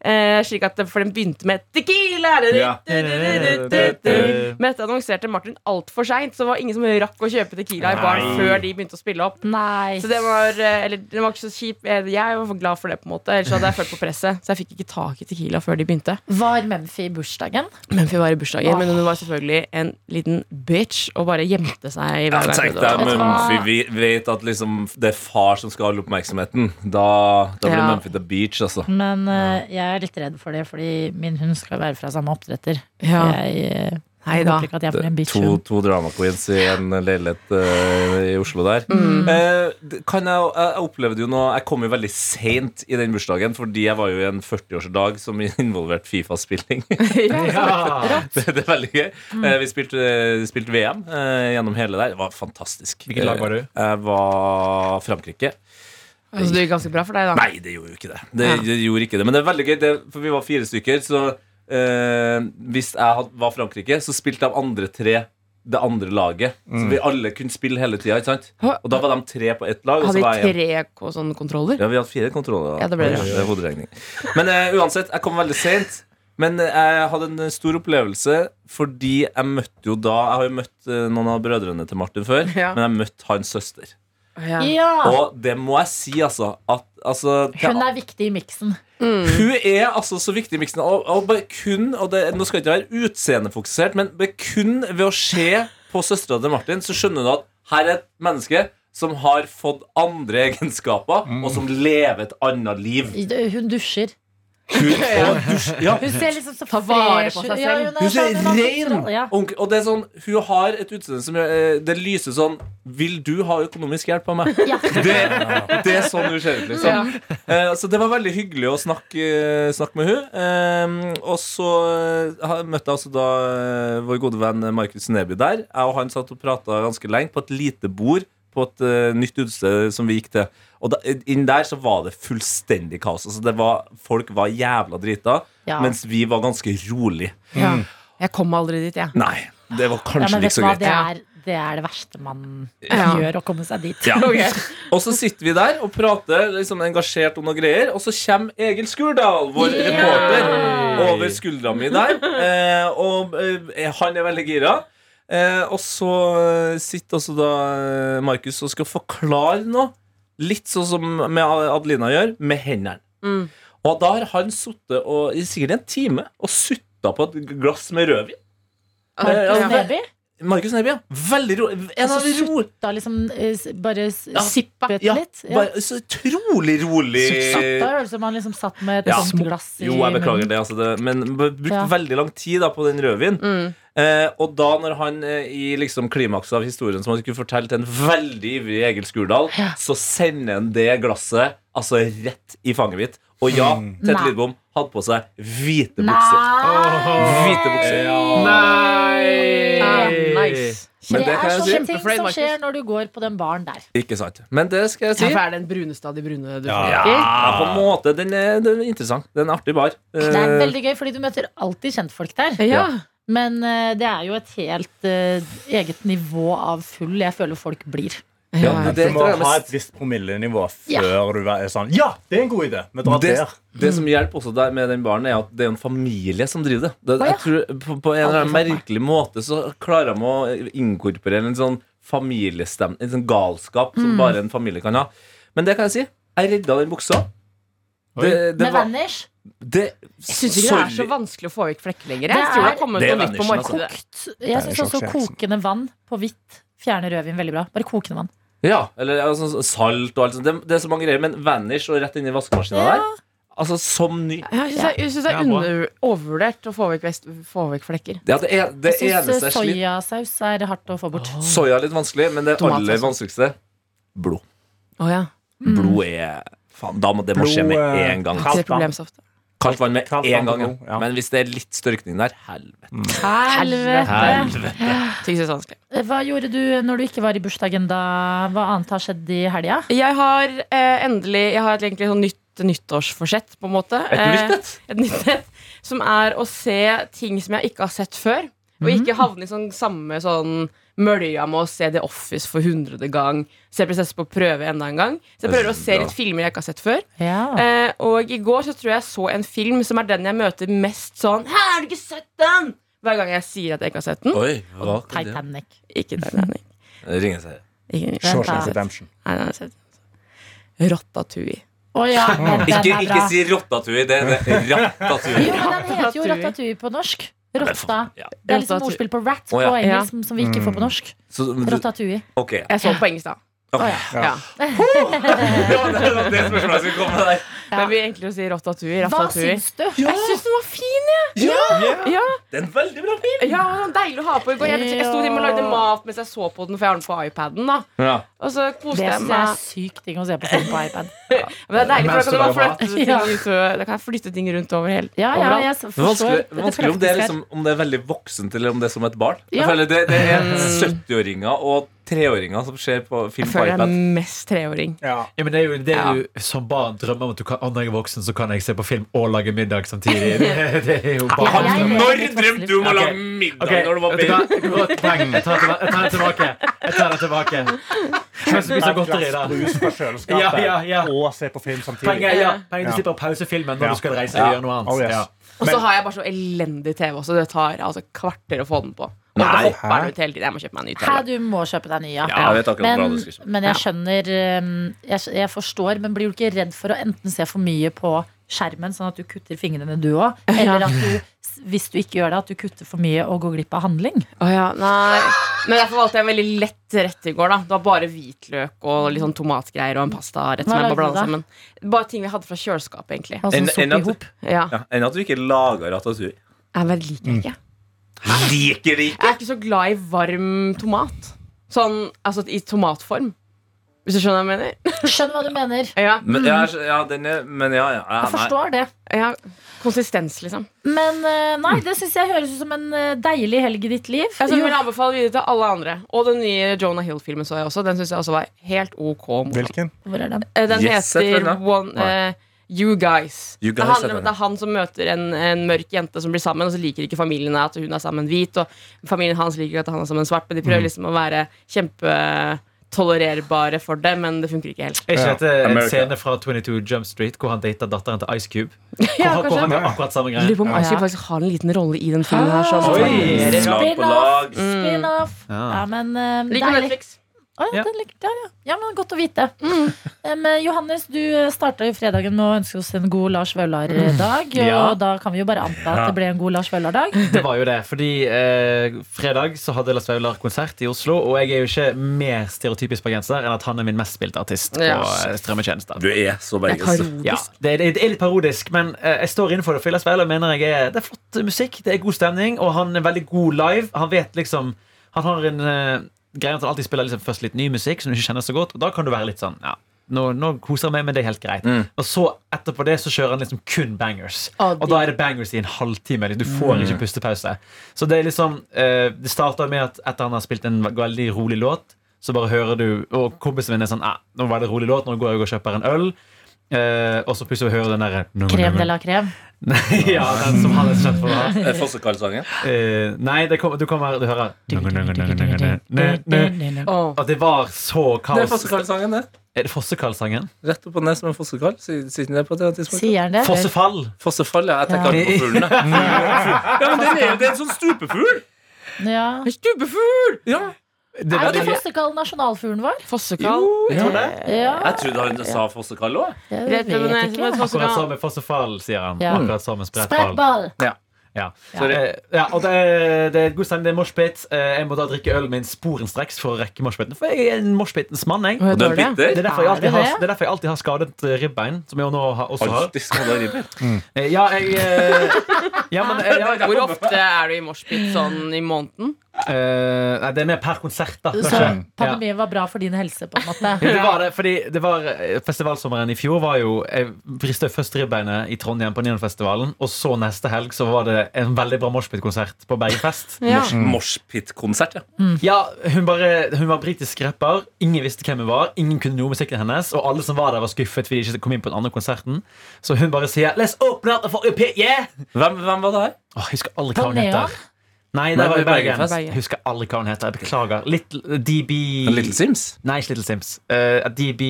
[SPEAKER 5] Eh, slik at, For den begynte med tequila!
[SPEAKER 6] Ja.
[SPEAKER 5] Men dette annonserte Martin altfor seint, så det var ingen som rakk å kjøpe tequila i baren
[SPEAKER 3] Nei.
[SPEAKER 5] før de begynte å spille opp.
[SPEAKER 2] Nei.
[SPEAKER 5] Så det var, eh, eller, det var ikke så kjipt. Jeg jeg var glad for det, på en måte ellers hadde jeg følt på presset. Så jeg fikk ikke tak i tequila før de begynte.
[SPEAKER 2] Var Mumphy i bursdagen?
[SPEAKER 5] Men vi var i bursdagen, men hun var selvfølgelig en liten bitch og bare gjemte seg. i hver verden.
[SPEAKER 6] Tenk deg
[SPEAKER 2] Vet du hva?
[SPEAKER 6] Mumphy. Vi vet at liksom det er far som skal ha all oppmerksomheten. Da, da blir
[SPEAKER 5] Ja.
[SPEAKER 6] Mumphy the beach, altså.
[SPEAKER 2] Men eh, jeg er litt redd for det, fordi min hund skal være fra samme oppdretter.
[SPEAKER 5] Ja.
[SPEAKER 2] Jeg eh,
[SPEAKER 5] Nei da.
[SPEAKER 2] Håper ikke at jeg blir en bitch.
[SPEAKER 6] To, to drama queens i en leilighet eh, i Oslo der. Eh, d- kan jeg, jeg jeg opplevde jo noe Jeg kom jo veldig seint i den bursdagen, fordi jeg var jo i en 40-årsdag som involverte Fifa-spilling.
[SPEAKER 4] Ja.
[SPEAKER 6] det, det er veldig gøy.
[SPEAKER 5] Mm.
[SPEAKER 6] Eh, vi spilte, eh, spilte VM eh, gjennom hele der. Det var fantastisk.
[SPEAKER 4] Hvilket lag var du?
[SPEAKER 6] Eh, Jeg var Frankrike.
[SPEAKER 5] Altså, det gikk ganske bra for deg, da.
[SPEAKER 6] Nei, det gjorde jo ikke det. Det, det gjorde ikke det Men det er veldig gøy, det, for vi var fire stykker. Så eh, hvis jeg had- var Frankrike, så spilte de andre tre det andre laget.
[SPEAKER 4] Mm.
[SPEAKER 6] Så vi alle kunne spille hele tida. ikke sant?
[SPEAKER 5] Hå-
[SPEAKER 6] Og da var de tre på ett lag. Og så
[SPEAKER 5] Hadde
[SPEAKER 6] var jeg
[SPEAKER 5] vi
[SPEAKER 6] en.
[SPEAKER 5] tre ko- sånne kontroller?
[SPEAKER 6] Ja, vi hadde fire kontroller. da.
[SPEAKER 5] Ja, det ble det.
[SPEAKER 6] er hoderegning. Men eh, uansett, jeg kom veldig sent. Men eh, jeg hadde en eh, stor opplevelse fordi jeg møtte jo da Jeg har jo møtt eh, noen av brødrene til Martin før,
[SPEAKER 5] Ja. Ah.
[SPEAKER 6] men jeg møtte hans søster.
[SPEAKER 5] Ja.
[SPEAKER 2] Ja,
[SPEAKER 6] Og det må jeg si, altså. At, altså til
[SPEAKER 2] hun er viktig i miksen.
[SPEAKER 6] hun er altså så viktig i miksen. Og, og bare kun, og det, nå skal jeg ikke være utseendefokusert, men bare kun ved å se på søstera til Martin, så skjønner du at her er et menneske som har fått andre egenskaper, og som lever et annet liv.
[SPEAKER 2] Hun dusjer.
[SPEAKER 6] Hun, og dusj- ja.
[SPEAKER 2] Hun ser liksom så
[SPEAKER 5] Ta vare på
[SPEAKER 2] fresh
[SPEAKER 5] seg
[SPEAKER 2] ut. Ja, hun
[SPEAKER 5] selv.
[SPEAKER 2] er
[SPEAKER 6] Hun ser
[SPEAKER 2] sånn, hun har
[SPEAKER 6] ren
[SPEAKER 2] kontroll, ja.
[SPEAKER 6] ordentlig- Og det er sånn, hun har et utseende som gjør eh, Det lyser sånn Vil du ha økonomisk hjelp av meg?
[SPEAKER 2] Ja.
[SPEAKER 6] Det, det er sånn hun ser ut, liksom. Eh, så det var veldig hyggelig å snakke, snakke med hun Eh, Og så eh, ha- møtte jeg altså da eh, vår gode venn Markus Neby der. Jeg og han satt og prata ganske lenge på et lite bord på et eh, nytt utested som vi gikk til. Og da, inn der så var det fullstendig kaos. Altså det var, folk var jævla drita,
[SPEAKER 2] Ja.
[SPEAKER 6] mens vi var ganske rolig.
[SPEAKER 5] Ja. Jeg kom aldri dit, jeg.
[SPEAKER 6] Nei, det var
[SPEAKER 2] Ja,
[SPEAKER 6] kanskje
[SPEAKER 2] men
[SPEAKER 6] ikke
[SPEAKER 2] vet du
[SPEAKER 6] så
[SPEAKER 2] hva,
[SPEAKER 6] greit.
[SPEAKER 2] det er, det er det verste man
[SPEAKER 5] Ja.
[SPEAKER 2] gjør, å komme seg dit.
[SPEAKER 6] Ja.
[SPEAKER 5] Ok.
[SPEAKER 6] Og så sitter vi der og prater liksom engasjert om noen greier, og så kommer Egil Skurdal, vår
[SPEAKER 2] Yeah!
[SPEAKER 6] reporter, over skuldra mi der. Eh, og eh, han er veldig gira. Eh, og så eh, sitter altså da eh, Markus og skal forklare noe, litt sånn som med Adelina gjør, med hendene.
[SPEAKER 5] Mm.
[SPEAKER 6] Og da har han sittet og- i sikkert en time og sutta på et glass med rødvin.
[SPEAKER 5] Ja,
[SPEAKER 2] Markus
[SPEAKER 5] Ah, ja.
[SPEAKER 2] Neby
[SPEAKER 6] Markus Neby, ja. Veldig ro. En av de
[SPEAKER 2] Altså,
[SPEAKER 6] ro...
[SPEAKER 2] da liksom eh, s- bare s-
[SPEAKER 6] Ja.
[SPEAKER 2] sippet
[SPEAKER 6] Ja.
[SPEAKER 2] litt. Ja.
[SPEAKER 6] Bare, så utrolig rolig.
[SPEAKER 2] Satt der, altså, man liksom satt med et
[SPEAKER 6] Ja.
[SPEAKER 2] sånt glass i
[SPEAKER 6] Jo, jeg beklager
[SPEAKER 2] munnen.
[SPEAKER 6] det, altså det men b- brukt
[SPEAKER 2] Ja.
[SPEAKER 6] veldig lang tid da, på den rødvinen.
[SPEAKER 5] Mm.
[SPEAKER 6] Eh, og da når han eh, i liksom klimakset av historien som han skulle fortelle til en veldig ivrig Egil Skurdal,
[SPEAKER 2] Ja.
[SPEAKER 6] så sender han det glasset altså rett i fanget mitt. Og ja, Tete
[SPEAKER 2] Nei.
[SPEAKER 6] Lidbom hadde på seg hvite bukser.
[SPEAKER 2] Nei!
[SPEAKER 6] Hvite bukser.
[SPEAKER 4] Nei!
[SPEAKER 5] Ah, nice.
[SPEAKER 6] Men
[SPEAKER 2] Det,
[SPEAKER 6] det kan
[SPEAKER 2] er
[SPEAKER 6] jeg
[SPEAKER 2] sånne
[SPEAKER 6] si.
[SPEAKER 2] ting
[SPEAKER 5] Kjempefornøyd,
[SPEAKER 2] som
[SPEAKER 5] Markus.
[SPEAKER 2] skjer når du går på den baren der.
[SPEAKER 6] Ikke sant. Men det skal jeg
[SPEAKER 5] Ja,
[SPEAKER 6] si.
[SPEAKER 5] for er det en bruneste av de brune du
[SPEAKER 3] Ja.
[SPEAKER 5] får?
[SPEAKER 6] Ja, på en måte. Den er, den er interessant. Det er en artig bar.
[SPEAKER 2] Det er
[SPEAKER 6] Eh,
[SPEAKER 2] veldig gøy, fordi du møter alltid kjentfolk der.
[SPEAKER 5] Ja.
[SPEAKER 2] Men eh, det er jo et helt eh, eget nivå av full jeg føler folk blir.
[SPEAKER 6] ja,
[SPEAKER 5] Ja.
[SPEAKER 6] det
[SPEAKER 3] Du må
[SPEAKER 6] tror jeg er
[SPEAKER 3] ha
[SPEAKER 6] mest-
[SPEAKER 3] et visst promillenivå
[SPEAKER 2] Ja.
[SPEAKER 3] før du er sånn Ja, det er en god idé! Vi drar
[SPEAKER 6] Det,
[SPEAKER 3] der.
[SPEAKER 6] det som hjelper også der med den baren, er at det er en familie som driver det. det
[SPEAKER 2] Å, ja.
[SPEAKER 6] jeg tror, på, på en eller annen
[SPEAKER 2] Aldri fått
[SPEAKER 6] merkelig måte så klarer de å inkorporere en sånn familiestemning, en sånn galskap som bare en familie kan ha. Men det kan jeg si. Jeg redda den buksa.
[SPEAKER 4] Oi.
[SPEAKER 6] Det, det
[SPEAKER 2] Med
[SPEAKER 6] var
[SPEAKER 2] Vanish
[SPEAKER 6] det,
[SPEAKER 5] Jeg syns ikke det er så vanskelig å få vekk flekklenger. Jeg
[SPEAKER 2] Det
[SPEAKER 5] tror
[SPEAKER 2] er-
[SPEAKER 5] det har kommet
[SPEAKER 6] Det er
[SPEAKER 5] noe nytt på
[SPEAKER 6] vannisjen, altså.
[SPEAKER 5] markedet.
[SPEAKER 2] Jeg syns
[SPEAKER 3] jo
[SPEAKER 2] også
[SPEAKER 3] sjokkjeksen.
[SPEAKER 2] kokende vann på hvitt fjerner rødvin veldig bra. Bare kokende vann.
[SPEAKER 6] Ja, eller altså, salt og alt sånt. Det, det er så mange greier. Men Vanish og rett inn i vaskemaskina der. Altså som ny
[SPEAKER 5] Ja, Jeg syns det er- jeg syns det er
[SPEAKER 4] Ja, bra.
[SPEAKER 5] under, overvurdert å få vekk, vest, få vekk flekker.
[SPEAKER 6] Ja, det, er, det
[SPEAKER 2] Jeg
[SPEAKER 6] eneste
[SPEAKER 2] syns
[SPEAKER 6] jeg sliter
[SPEAKER 2] soyasaus er hardt å få bort.
[SPEAKER 6] Soya er litt vanskelig, men det
[SPEAKER 5] Tomat
[SPEAKER 6] aller
[SPEAKER 5] også.
[SPEAKER 6] vanskeligste blod.
[SPEAKER 5] Å ja.
[SPEAKER 2] Mm.
[SPEAKER 6] Blod er Faen, da må det må skje med
[SPEAKER 3] Blod, eh,
[SPEAKER 6] en gang.
[SPEAKER 3] kaldt
[SPEAKER 5] Det er
[SPEAKER 3] vann.
[SPEAKER 5] problem så ofte.
[SPEAKER 6] Kaldt vann med
[SPEAKER 3] Kaldt
[SPEAKER 6] en
[SPEAKER 3] vann på
[SPEAKER 6] gang.
[SPEAKER 3] blod,
[SPEAKER 6] Ja.
[SPEAKER 3] ja.
[SPEAKER 6] Men hvis det er litt størkning der, helvete.
[SPEAKER 2] Helvete. Eh,
[SPEAKER 5] Ting synes jeg er vanskelig.
[SPEAKER 2] Hva gjorde du når du ikke var i bursdagen, da? Hva annet har skjedd i helga?
[SPEAKER 5] Jeg har eh, endelig Jeg har et egentlig sånn nytt nyttårsforsett, på en måte.
[SPEAKER 6] Et nytt et?
[SPEAKER 5] Eh, et nytt et. Som er å se ting som jeg ikke har sett før. Og
[SPEAKER 6] Mhm.
[SPEAKER 5] ikke havne i sånn samme sånn mølja med å se The Office for hundrede gang. Se Prinsesse på prøve enda en gang. Så jeg
[SPEAKER 6] Det er
[SPEAKER 5] prøver å
[SPEAKER 6] så
[SPEAKER 5] se
[SPEAKER 6] bra.
[SPEAKER 5] litt filmer jeg ikke har sett før.
[SPEAKER 2] Ja.
[SPEAKER 5] Eh, og i går så tror jeg jeg så en film som er den jeg møter mest sånn Hæ, har du ikke sett den? Hver gang jeg sier at jeg ikke har
[SPEAKER 2] mm.
[SPEAKER 5] sett den.
[SPEAKER 6] Oi, hva?
[SPEAKER 2] Titanic.
[SPEAKER 5] Ikke Titanic.
[SPEAKER 6] Ringe seg.
[SPEAKER 5] Ikke, nei,
[SPEAKER 3] Shawshank
[SPEAKER 2] da.
[SPEAKER 3] Redemption.
[SPEAKER 5] nei, jeg har sett den. Ratatouille.
[SPEAKER 2] Å ja, den den
[SPEAKER 6] Ikke,
[SPEAKER 2] er
[SPEAKER 6] ikke
[SPEAKER 2] bra.
[SPEAKER 6] si rotatui. Det er det-
[SPEAKER 2] Jo,
[SPEAKER 6] ratatui.
[SPEAKER 2] men den heter jo Ratatouille på norsk. Rotta.
[SPEAKER 6] Ja.
[SPEAKER 2] Det er liksom
[SPEAKER 5] Ratatouille.
[SPEAKER 2] ordspill på rat
[SPEAKER 6] Å, ja. Mm.
[SPEAKER 2] på engelsk som- som vi ikke får på norsk.
[SPEAKER 6] Så,
[SPEAKER 2] Ratatouille.
[SPEAKER 6] ok.
[SPEAKER 5] Jeg så den på engelsk, da.
[SPEAKER 6] Ok.
[SPEAKER 5] Ja.
[SPEAKER 6] Det var det, det var det spørsmålet jeg skulle komme med der.
[SPEAKER 5] Men vi er egentlig å si ratatouille.
[SPEAKER 2] Hva
[SPEAKER 5] ratatouille.
[SPEAKER 2] syns du?
[SPEAKER 5] Jeg syns den var fin, jeg! Ja,
[SPEAKER 6] Det er en veldig bra film!
[SPEAKER 5] ja, den var Deilig å ha på i går. Jeg, jeg sto hjemme og lagde mat mens jeg så på den, for jeg har den på iPaden. da
[SPEAKER 6] Ja.
[SPEAKER 5] Og så koste
[SPEAKER 2] Det
[SPEAKER 5] jeg
[SPEAKER 2] syns jeg er
[SPEAKER 5] meg.
[SPEAKER 2] sykt ting å se på film på iPad.
[SPEAKER 5] Men det er deilig, for
[SPEAKER 4] Mens
[SPEAKER 5] da kan,
[SPEAKER 4] du
[SPEAKER 5] jeg bare
[SPEAKER 4] lager
[SPEAKER 5] flytte ting
[SPEAKER 2] mat.
[SPEAKER 5] ut, og- da kan jeg flytte ting rundt over hele
[SPEAKER 2] Ja, ja,
[SPEAKER 5] overalt.
[SPEAKER 2] jeg
[SPEAKER 6] Det er
[SPEAKER 2] forstår
[SPEAKER 6] vanskelig,
[SPEAKER 2] dette
[SPEAKER 6] vanskelig om, det
[SPEAKER 2] praktiske
[SPEAKER 6] er
[SPEAKER 2] her.
[SPEAKER 6] liksom, om det er veldig voksent, eller om det er som et barn.
[SPEAKER 2] Ja. Mm.
[SPEAKER 6] Jeg føler det, det er 70-åringer og 3-åringer som ser på
[SPEAKER 5] Jeg
[SPEAKER 6] film på
[SPEAKER 5] føler jeg
[SPEAKER 6] iPad.
[SPEAKER 5] er mest treåring.
[SPEAKER 3] Ja.
[SPEAKER 4] Ja, men det er jo det
[SPEAKER 5] Ja.
[SPEAKER 4] du som barn drømmer om at du kan, å, når jeg er voksen, så kan jeg se på film og lage middag samtidig. Det, det er jo
[SPEAKER 2] Ja, jeg-
[SPEAKER 4] barn.
[SPEAKER 6] Når drømte du om å lage middag
[SPEAKER 4] Ok,
[SPEAKER 6] når du var
[SPEAKER 4] vet du hva?
[SPEAKER 6] baby?
[SPEAKER 4] Det var et poeng. Jeg tar det- jeg tar det tilbake. Jeg tar det tilbake. Hvem spiser godteri da?
[SPEAKER 3] Brus fra kjøleskapet
[SPEAKER 4] Ja, ja, ja.
[SPEAKER 3] og se på film samtidig.
[SPEAKER 4] Poenget er ja, poenget er
[SPEAKER 3] Ja.
[SPEAKER 4] du slipper å pause filmen når
[SPEAKER 3] Ja.
[SPEAKER 4] du skal reise
[SPEAKER 6] Ja.
[SPEAKER 4] og gjøre noe annet.
[SPEAKER 3] Oh, yes.
[SPEAKER 4] ja.
[SPEAKER 5] Og så har jeg bare så elendig TV også. Det tar altså kvarter å få den på. Og da
[SPEAKER 6] Nei,
[SPEAKER 5] hopper
[SPEAKER 3] hæ?
[SPEAKER 5] den ut hele tiden. Jeg må kjøpe meg en ny
[SPEAKER 2] Hæ,
[SPEAKER 5] TV.
[SPEAKER 2] du må kjøpe deg ny, ja.
[SPEAKER 6] Ja, jeg vet akkurat hva
[SPEAKER 2] Men,
[SPEAKER 6] du skal kjøpe.
[SPEAKER 2] men jeg skjønner um, jeg, skj- jeg forstår, men blir du ikke redd for å enten se for mye på skjermen, sånn at du kutter fingrene, du òg? Eller at du, s- hvis du ikke gjør det, at du kutter for mye og går glipp av handling?
[SPEAKER 5] Å ja, nei. Men derfor valgte jeg en veldig lett rett i går. da Det var bare hvitløk og litt sånn tomatgreier og en pastarett som
[SPEAKER 2] Hva
[SPEAKER 5] jeg bare
[SPEAKER 2] lagde
[SPEAKER 5] blanda
[SPEAKER 2] du
[SPEAKER 5] sammen. Bare ting vi hadde fra kjøleskapet, egentlig.
[SPEAKER 2] Altså,
[SPEAKER 6] Enn-
[SPEAKER 2] sopp
[SPEAKER 6] enn at-
[SPEAKER 2] ihop.
[SPEAKER 5] Ja,
[SPEAKER 6] Ja, Enn at du ikke lager
[SPEAKER 5] jeg
[SPEAKER 6] ratatouille.
[SPEAKER 5] bare liker ikke.
[SPEAKER 6] Liker
[SPEAKER 2] Mm.
[SPEAKER 6] det ikke!
[SPEAKER 5] Jeg er ikke så glad i varm tomat. Sånn, altså i tomatform. Hvis du skjønner hva jeg mener?
[SPEAKER 2] Skjønner hva du mener.
[SPEAKER 5] Ja,
[SPEAKER 6] Men, ja, ja, den er, men ja, ja, ja
[SPEAKER 2] Jeg
[SPEAKER 6] nei.
[SPEAKER 2] forstår det.
[SPEAKER 5] ja Konsistens, liksom.
[SPEAKER 2] Men eh, nei, det syns jeg høres ut som en eh, deilig helg i ditt liv.
[SPEAKER 5] Altså, jeg
[SPEAKER 2] Jo,
[SPEAKER 5] vil anbefale videre til alle andre. Og den nye Jonah Hill-filmen så jeg også. Den syns jeg også var helt ok. morsom.
[SPEAKER 3] Hvilken?
[SPEAKER 2] hvor er den?
[SPEAKER 5] Eh, Den
[SPEAKER 6] Yes, heter den
[SPEAKER 5] heter
[SPEAKER 6] da?
[SPEAKER 5] One,
[SPEAKER 6] Nei.
[SPEAKER 5] eh, You Guys.
[SPEAKER 6] You
[SPEAKER 5] det
[SPEAKER 6] Guys
[SPEAKER 5] handler om at
[SPEAKER 6] heter den.
[SPEAKER 5] det er han som møter en, en mørk jente som blir sammen, og så liker ikke familien at hun er sammen hvit, og familien hans liker ikke at han er sammen svart, men de prøver liksom å være kjempetolererbare for det, men det funker ikke helt.
[SPEAKER 4] Er ikke
[SPEAKER 3] Ja.
[SPEAKER 4] dette en
[SPEAKER 6] America.
[SPEAKER 4] scene fra 22 Jump Street hvor han data datteren til Ice Cube? Hvor
[SPEAKER 5] Ja,
[SPEAKER 4] han, hvor han
[SPEAKER 5] kanskje.
[SPEAKER 4] gjør akkurat samme
[SPEAKER 5] Jeg
[SPEAKER 4] greie.
[SPEAKER 5] lurer på om Ice Cube faktisk har en liten rolle i den filmen her. Så
[SPEAKER 4] Oi.
[SPEAKER 6] Slag på lag. Mm.
[SPEAKER 2] Spin-off.
[SPEAKER 4] Ja.
[SPEAKER 2] Ja, men eh,
[SPEAKER 5] Liker
[SPEAKER 2] deilig.
[SPEAKER 5] Netflix.
[SPEAKER 2] Å, ja,
[SPEAKER 4] Ja.
[SPEAKER 2] den ligger der, ja. ja, men Godt å vite. Em, eh, Johannes, du starta jo fredagen med å ønske oss en god Lars Vaular-dag.
[SPEAKER 4] Ja.
[SPEAKER 2] Og da kan vi jo bare anta at det ble en god Lars Vaular-dag.
[SPEAKER 4] Det var jo det, fordi eh, fredag så hadde Lars Vaular konsert i Oslo, og jeg er jo ikke mer stereotypisk bergenser enn at han er min mest spilte artist på
[SPEAKER 5] Ja.
[SPEAKER 4] eh, strømmetjenester.
[SPEAKER 6] Du er så bergensk.
[SPEAKER 5] Parodisk.
[SPEAKER 4] Ja, det, er- det er litt parodisk, men eh, jeg står innenfor det. For Lars Vaular mener jeg er, det er flott musikk, det er god stemning, og han er veldig god live. Han vet liksom Han har en eh, greie at han alltid spiller liksom først litt ny musikk som du ikke kjenner så godt, og da kan du være litt sånn ja, nå, nå koser jeg meg, men det er helt greit. Og så etterpå det så kjører han liksom kun bangers.
[SPEAKER 5] Å,
[SPEAKER 4] og da er det bangers i en halvtime. liksom. Du får ikke pustepause. Så det er liksom eh, Det starter med at etter han har spilt en veldig rolig låt, så bare hører du Og kompisen min er sånn ah, 'Nå var det rolig låt, nå går jeg og kjøper en øl'. Eh, og så plutselig hører du den derre
[SPEAKER 2] Krem de la krem.
[SPEAKER 4] ja, den som han er så kjent for å ha.
[SPEAKER 6] Er Fossekalsangen?
[SPEAKER 4] Eh, nei, det kom, du kommer Du hører At det var så
[SPEAKER 6] Det er
[SPEAKER 4] kaos.
[SPEAKER 6] Fossekalsangen, det.
[SPEAKER 4] Er det Fossekall-sangen?
[SPEAKER 6] Rett opp og ned som en fossekall. Sier sier den det på det tidspunktet?
[SPEAKER 2] Sier han det?
[SPEAKER 4] Fossefall!
[SPEAKER 6] Fossefall, ja. Jeg
[SPEAKER 4] Ja.
[SPEAKER 6] tenker alltid på fuglen. jeg. Ja, men den er jo det er en sånn stupefugl!
[SPEAKER 2] Ja.
[SPEAKER 5] Stubefugl!
[SPEAKER 6] Ja.
[SPEAKER 4] Det
[SPEAKER 2] Er
[SPEAKER 4] er
[SPEAKER 2] ikke
[SPEAKER 4] veldig
[SPEAKER 2] fossekall nasjonalfuglen vår?
[SPEAKER 5] Fossekall.
[SPEAKER 2] Ja,
[SPEAKER 6] Jeg trodde han sa fossekall òg.
[SPEAKER 2] jeg
[SPEAKER 5] Rett
[SPEAKER 2] vet
[SPEAKER 5] over
[SPEAKER 2] ikke.
[SPEAKER 5] nesen med et
[SPEAKER 4] Akkurat
[SPEAKER 5] fossekall.
[SPEAKER 4] som med Fossefall, sier han.
[SPEAKER 2] Ja.
[SPEAKER 4] Akkurat som med sprettball.
[SPEAKER 2] Sprettball!
[SPEAKER 4] Ja.
[SPEAKER 2] Ja.
[SPEAKER 4] Eh, ja, og det er, det er god stemning. Det er moshpit. Eh, Jeg må da drikke øl min sporenstreks for å rekke moshpiten. For jeg er en moshpitens mann, jeg.
[SPEAKER 5] Hva
[SPEAKER 6] Og den
[SPEAKER 5] heter
[SPEAKER 4] Det
[SPEAKER 5] det?
[SPEAKER 6] bitter.
[SPEAKER 4] er,
[SPEAKER 2] Er
[SPEAKER 4] derfor jeg
[SPEAKER 2] det
[SPEAKER 4] alltid har,
[SPEAKER 2] det?
[SPEAKER 4] det er derfor jeg alltid har skadet eh, ribbein, som jeg jo nå har, også har.
[SPEAKER 6] Alltid skal det ribbe.
[SPEAKER 4] Eh, Ja, jeg eh, Ja, men eh, ja,
[SPEAKER 5] Hvor ofte er du i moshpit sånn i måneden?
[SPEAKER 4] Eh, nei, det er mer per konsert, da.
[SPEAKER 2] Så
[SPEAKER 4] kanskje. Ja.
[SPEAKER 2] pandemien var bra for din helse, på en måte.
[SPEAKER 4] Det var det, fordi det var eh, Festivalsommeren i fjor var jo Jeg brista først ribbeinet i Trondheim på Nionfestivalen, og så neste helg så var det en veldig bra moshpit-konsert på Bergenfest.
[SPEAKER 2] Mm.
[SPEAKER 5] Ja.
[SPEAKER 6] Moshpit-konsert, ja.
[SPEAKER 4] Ja, hun, bare, hun var britisk rapper, ingen visste hvem hun var, ingen kunne noe om musikken hennes, og alle som var der, var skuffet fordi de ikke kom inn på den andre konserten. Så hun bare sier 'Let's open up for UP, yeah!'
[SPEAKER 6] Hvem, hvem var det her?
[SPEAKER 4] Åh, jeg husker alle hva
[SPEAKER 2] På
[SPEAKER 4] hun
[SPEAKER 2] Neon?
[SPEAKER 4] heter. Nei,
[SPEAKER 6] Nei,
[SPEAKER 4] det var i
[SPEAKER 6] på Bergen
[SPEAKER 4] Bergen.
[SPEAKER 5] Fest.
[SPEAKER 4] Jeg husker alle hva hun heter. Jeg beklager. Little DB
[SPEAKER 6] Little Sims?
[SPEAKER 4] Nei, ikke Little Sims. Eh, DB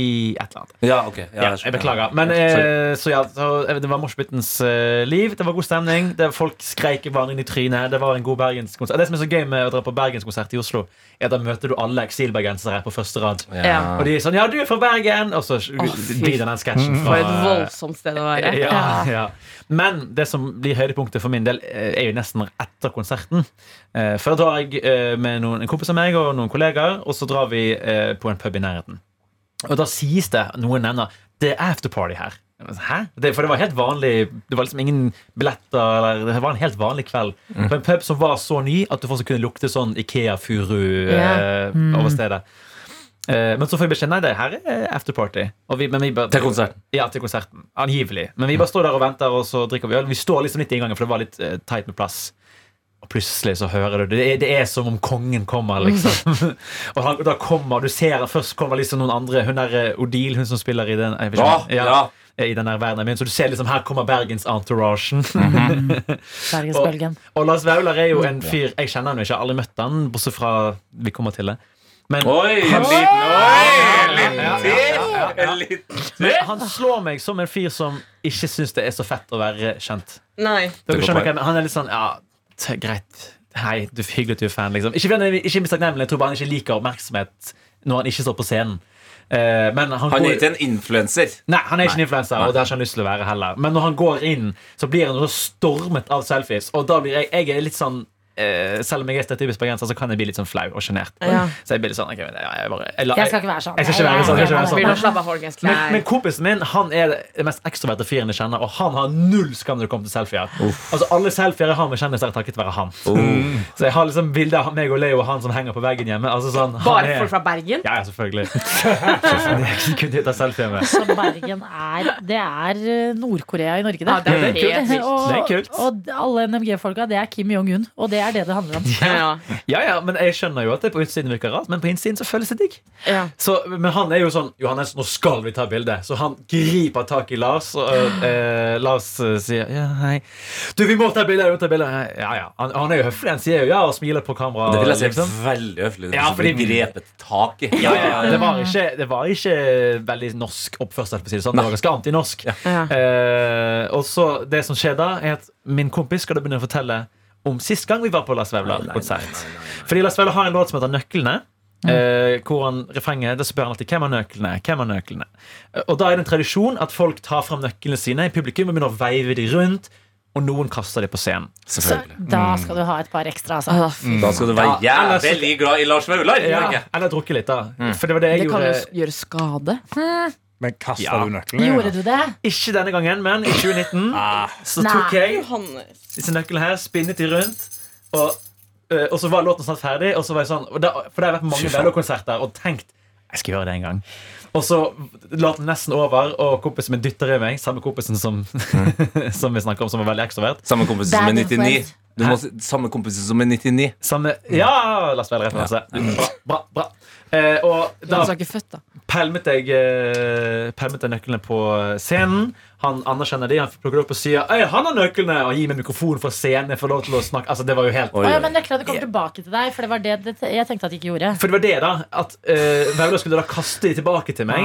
[SPEAKER 4] et eller annet.
[SPEAKER 6] Ja, ok. Ja,
[SPEAKER 4] Ja, jeg
[SPEAKER 6] skjønner.
[SPEAKER 4] beklager. Men eh, så ja, så, eh, det var moshpitens eh, liv. Det var god stemning. Det, folk skreik hverandre inn i trynet. Det var en god bergenskonsert. Det som er så gøy med å dra på bergenskonsert i Oslo, er at da møter du alle eksilbergensere på første rad.
[SPEAKER 5] Ja.
[SPEAKER 4] Og de er sånn Ja, du er fra Bergen! Og så
[SPEAKER 5] fy.
[SPEAKER 4] blir det den sketsjen.
[SPEAKER 5] For et
[SPEAKER 4] fra-
[SPEAKER 5] voldsomt sted å være.
[SPEAKER 4] ja, ja. Men det som blir høydepunktet for min del, eh, er jo nesten etter konserten. Eh, For da drar jeg eh, med noen, en kompis av meg og noen kollegaer, og så drar vi eh, på en pub i nærheten. Og da sies det noen nevner det er afterparty her. Hæ? Det, for det var helt vanlig Det var liksom ingen billetter eller, Det var en helt vanlig kveld På en pub som var så ny at du fortsatt kunne lukte sånn Ikea-furu
[SPEAKER 5] Ja.
[SPEAKER 4] eh, over stedet Eh, men så får vi beskjed Nei, det her er afterparty
[SPEAKER 6] Til konserten.
[SPEAKER 4] Ja, til konserten, angivelig Men vi bare står der og venter og så drikker vi øl Vi står liksom litt i inngangen for det var litt eh, teit med plass Og plutselig så hører du Det er, det er som om kongen kommer liksom Og han, da kommer, du ser Først kommer liksom noen andre Hun er eh, Odile, hun som spiller i den jeg vet ikke
[SPEAKER 6] Ja,
[SPEAKER 4] om-
[SPEAKER 6] Ah, ja.
[SPEAKER 4] i den her verdenen min. Så du ser liksom, her kommer Bergens entouragen.
[SPEAKER 6] Mm.
[SPEAKER 2] Bergensbølgen.
[SPEAKER 4] og Lars Vaular er jo en fyr Jeg kjenner han jo ikke, jeg har aldri møtt han, bortsett fra vi kommer til det. Men,
[SPEAKER 6] Oi, en liten Oi,
[SPEAKER 4] Ja,
[SPEAKER 6] en liten
[SPEAKER 4] ja, ja,
[SPEAKER 6] til!
[SPEAKER 4] ja, ja.
[SPEAKER 6] En liten
[SPEAKER 4] men
[SPEAKER 6] til!
[SPEAKER 4] han slår meg som en fyr som ikke syns det er så fett å være kjent.
[SPEAKER 5] Nei.
[SPEAKER 4] Dere
[SPEAKER 6] Det går
[SPEAKER 4] skjønner
[SPEAKER 6] på.
[SPEAKER 4] hva jeg mener. Han er litt sånn Ja, t- greit. Hei, du hyggelig at du er fan, liksom. Ikke, fordi han er- ikke mistakknemlig, jeg tror bare han ikke liker oppmerksomhet når han ikke står på scenen. Eh, men han,
[SPEAKER 6] Han
[SPEAKER 4] går-
[SPEAKER 6] er ikke en influenser.
[SPEAKER 4] Nei, han er ikke en influenser, og det har ikke han lyst til å være heller. Men når han går inn, så blir han jo stormet av selfies, og da blir jeg, jeg er litt sånn eh, selv om jeg er stereotypisk bergenser, så kan jeg bli litt sånn flau og sjenert.
[SPEAKER 5] Ja.
[SPEAKER 4] Så jeg blir litt sånn ok, men jeg, jeg, bare, jeg, la-
[SPEAKER 2] Jeg skal ikke være sånn.
[SPEAKER 4] Jeg skal ikke være sånn, jeg skal ikke være sånn.
[SPEAKER 5] Blir da slapp av, folkens.
[SPEAKER 4] men, men
[SPEAKER 5] Nei.
[SPEAKER 4] kompisen min han er den mest ekstroverte fyren jeg kjenner, og han har null skam når det kommer til selfier. Altså Alle selfier jeg har med kjendiser, er takket være han.
[SPEAKER 6] Mm.
[SPEAKER 4] Så jeg har liksom bilder av meg og Leo og han som henger på veggen hjemme. Altså sånn, han
[SPEAKER 5] Bare
[SPEAKER 4] er-
[SPEAKER 5] folk fra Bergen?
[SPEAKER 4] Ja, ja, selvfølgelig. det kunne jeg ta selfie med.
[SPEAKER 2] Så Bergen er Det er eh, Nord-Korea i Norge, det.
[SPEAKER 5] Ja, det er helt vilt.
[SPEAKER 2] og,
[SPEAKER 4] Det er kult.
[SPEAKER 2] og alle NMG-folka, det er Kim Jong-un. Og det er det det handler om.
[SPEAKER 5] Ja.
[SPEAKER 4] Ja, ja, men jeg skjønner jo at det på utsiden virker rart, men på innsiden så føles det digg.
[SPEAKER 5] Ja.
[SPEAKER 4] Så, men han er jo sånn Johannes, nå skal vi ta bilde. Så han griper tak i Lars, og eh, Lars eh, sier ja, hei. Du, vi må ta bilde! vi må ta bilde. Ja, ja. Han, han er jo høflig. Han sier jo ja og smiler på kamera.
[SPEAKER 6] Det vil jeg si
[SPEAKER 4] liksom.
[SPEAKER 6] er veldig høflig.
[SPEAKER 4] Ja,
[SPEAKER 6] Ja, fordi
[SPEAKER 4] fordi-
[SPEAKER 6] grepet tak i.
[SPEAKER 4] Ja, ja, ja. Det, var ikke, det var ikke veldig norsk oppførsel. for å si Det sånn. Det var ganske antinorsk.
[SPEAKER 5] Ja.
[SPEAKER 4] Eh, og så det som skjer da, er at min kompis skal da begynne å fortelle om sist gang vi var på Lars Vaular-konsert. Fordi Lars Vaular har en låt som heter Nøklene.
[SPEAKER 5] Mm.
[SPEAKER 4] eh, hvor han refrenget, da spør han alltid hvem har nøklene. hvem har nøklene Eh, Og da er det en tradisjon at folk tar fram nøklene sine i publikum og begynner å veive de rundt. Og noen kaster de på scenen.
[SPEAKER 2] Så
[SPEAKER 6] Selvfølgelig.
[SPEAKER 2] da skal du ha et par ekstra, altså.
[SPEAKER 5] Ah, fy.
[SPEAKER 6] Da skal du være
[SPEAKER 4] Mm. Ja, ellers-
[SPEAKER 6] jævlig glad i Lars Vaular. gjør du ikke?
[SPEAKER 4] Eller drukket litt, da. For det var det jeg
[SPEAKER 5] Det kan jo
[SPEAKER 4] gjorde.
[SPEAKER 5] s- gjøre skade.
[SPEAKER 3] Men kasta
[SPEAKER 4] Ja.
[SPEAKER 3] du nøkkelen? i
[SPEAKER 2] Gjorde
[SPEAKER 3] det?
[SPEAKER 2] du det?
[SPEAKER 4] Ikke denne gangen, men i 2019
[SPEAKER 5] Ah.
[SPEAKER 4] så
[SPEAKER 2] Nei.
[SPEAKER 4] tok jeg
[SPEAKER 5] Johannes.
[SPEAKER 4] disse nøklene her, spinnet de rundt. Og, eh, og så var låten snart ferdig. Og så var jeg sånn, og da, for det har vært mange Bello-konserter og tenkt jeg skal gjøre det en gang. Og så la den nesten over, og kompisen min dytter i meg. Samme kompisen som, som vi snakker om, som var veldig ekstrovert.
[SPEAKER 6] Samme kompisen som er
[SPEAKER 2] Bad
[SPEAKER 6] 99.
[SPEAKER 2] influence.
[SPEAKER 6] Du må, si- samme kompisen som er 99.
[SPEAKER 4] Samme Mm. Ja! Lars Vaular referanse. Bra, bra. bra. Eh, og da
[SPEAKER 5] Han er ikke født, da.
[SPEAKER 4] pælmet jeg, eh, pælmet jeg nøklene på scenen. Han anerkjenner de, han plukker det opp og sier «Øy, han har nøklene! Og gir meg mikrofonen fra scenen. Jeg får lov til å snakke. Altså, det var jo helt
[SPEAKER 6] Oi,
[SPEAKER 2] Å, ja,
[SPEAKER 6] oi.
[SPEAKER 2] men nøklene kommer tilbake til deg, for det var det, det jeg tenkte at de ikke gjorde.
[SPEAKER 4] For det var det, da. At uh, Vaular skulle da kaste de tilbake til meg.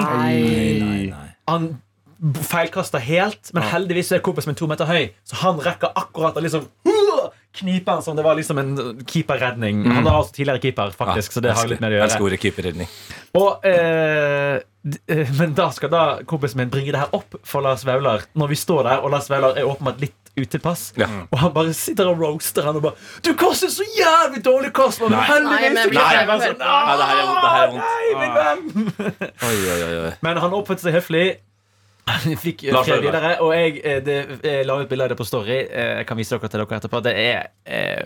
[SPEAKER 4] Han b- feilkasta helt, men heldigvis så er kompisen min to meter høy, så han rekker akkurat å liksom uh, knipe han som det var liksom en uh, keeperredning. Han var også tidligere keeper, faktisk, så det har litt med det å
[SPEAKER 6] Mm. Elsker
[SPEAKER 4] gjøre.
[SPEAKER 6] ordet keeperredning.
[SPEAKER 4] Og, eh, d- eh, men da skal da kompisen min bringe det her opp for Lars Vaular, når vi står der, og Lars Vaular er åpenbart litt utilpass.
[SPEAKER 6] Ja.
[SPEAKER 4] Og han bare sitter og roaster han og bare 'Du kaster så jævlig dårlig kast!' Men
[SPEAKER 6] Nei.
[SPEAKER 5] Nei,
[SPEAKER 4] heldigvis
[SPEAKER 5] men-
[SPEAKER 4] så klarer jeg bare
[SPEAKER 5] Nei.
[SPEAKER 4] sånn, «Ah,
[SPEAKER 6] Nei, det her er vondt, det her er vondt.
[SPEAKER 4] Nei, min venn!
[SPEAKER 6] Oi, oi, oi, oi.
[SPEAKER 4] Ah. Men han oppførte seg høflig. Han Fikk eh,
[SPEAKER 6] Lars
[SPEAKER 4] fred
[SPEAKER 6] Vaular.
[SPEAKER 4] videre. Og jeg, eh, det, jeg la ut bilde av det på Story. eh, Jeg kan vise dere til dere etterpå. Det er eh,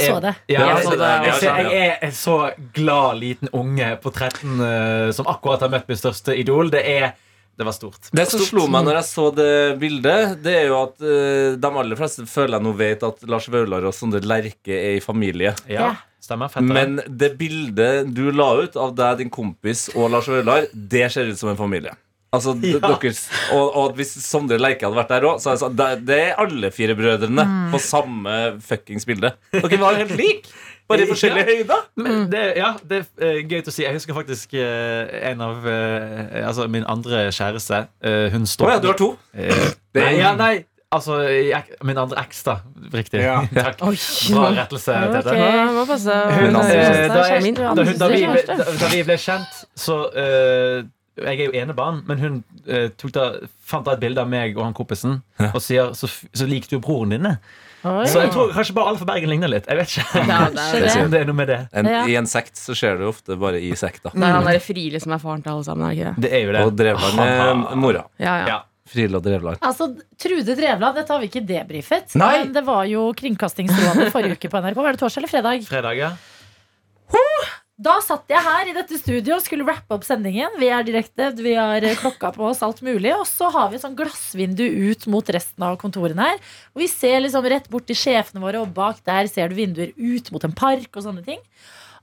[SPEAKER 2] Jeg
[SPEAKER 4] er-
[SPEAKER 2] så det.
[SPEAKER 4] Ja,
[SPEAKER 6] Ja,
[SPEAKER 4] jeg,
[SPEAKER 6] så
[SPEAKER 4] ser-
[SPEAKER 6] det er-
[SPEAKER 4] jeg, ser-
[SPEAKER 6] ja.
[SPEAKER 4] jeg er en så glad liten unge på 13 eh, som akkurat har møtt mitt største idol. Det, er, det var stort.
[SPEAKER 6] Det som slo meg når jeg så det bildet, det er jo at eh, de aller fleste føler jeg nå vet at Lars Vaular og Sondre Lerche er i familie.
[SPEAKER 4] Ja, stemmer. Fett.
[SPEAKER 6] Men det bildet du la ut av deg, din kompis og Lars Vaular, det ser ut som en familie. Altså, d- deres, og, og hvis Sondre Lerche hadde vært der òg, så hadde jeg sagt det, det er alle fire brødrene på samme fuckings bilde. Dere var helt like, bare i forskjellige høyder.
[SPEAKER 4] Men det, ja, det er eh, gøy til å si. Jeg husker faktisk eh, en av eh, Altså min andre kjæreste. eh, hun
[SPEAKER 6] Å
[SPEAKER 4] står
[SPEAKER 6] ja, du har to.
[SPEAKER 4] Eh,
[SPEAKER 6] Det er-
[SPEAKER 4] nei, ja, nei, altså ek, Min andre eks, da. Riktig.
[SPEAKER 3] Ja.
[SPEAKER 4] Takk. Bra rettelse, Tete.
[SPEAKER 5] Ja, det var passe.
[SPEAKER 4] Hun,
[SPEAKER 6] andre
[SPEAKER 4] eh, da, jeg,
[SPEAKER 5] Min
[SPEAKER 4] da, hun, da, vi, ble-
[SPEAKER 2] kjæreste.
[SPEAKER 4] da, da vi ble kjent, så eh, Jeg er jo enebarn, men hun eh, tok da, fant da et bilde av meg og han kompisen og sier så, f- så liker du jo broren din. eh."
[SPEAKER 2] Oi.
[SPEAKER 4] Så jeg tror kanskje bare alle fra Bergen ligner litt. Jeg vet ikke
[SPEAKER 5] Ja, det er-
[SPEAKER 4] om det er noe med det.
[SPEAKER 6] En,
[SPEAKER 2] Ja.
[SPEAKER 6] I en sekt så skjer det jo ofte bare i sekta.
[SPEAKER 5] Det er han derre Friele som er faren til alle sammen, er det ikke det?
[SPEAKER 4] Det er jo det.
[SPEAKER 6] Og Drevland er mora.
[SPEAKER 5] Ja, ja.
[SPEAKER 4] Ja.
[SPEAKER 6] Frida Drevland.
[SPEAKER 2] Altså, Trude Drevland, dette har vi ikke debrifet.
[SPEAKER 6] Nei.
[SPEAKER 2] Men det var jo Kringkastingsrådet forrige uke på NRK. Var det torsdag eller fredag?
[SPEAKER 4] Fredag, ja.
[SPEAKER 2] Da satt jeg her i dette studio og skulle rappe opp sendingen. Vi er direkte, vi har eh, klokka på oss, alt mulig. Og så har vi et sånn glassvindu ut mot resten av kontorene her. Og vi ser liksom rett bort til sjefene våre, og bak der ser du vinduer ut mot en park og sånne ting.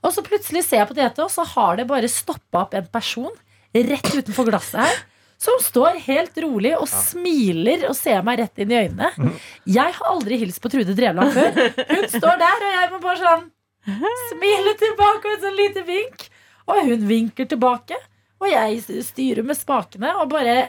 [SPEAKER 2] Og så plutselig ser jeg på DT, og så har det bare stoppa opp en person rett utenfor glasset her. Som står helt rolig og smiler og ser meg rett inn i øynene. Jeg har aldri hilst på Trude Drevland før. Hun står der, og jeg må bare sånn smile tilbake og et sånn lite vink. Og hun vinker tilbake, og jeg styrer med spakene og bare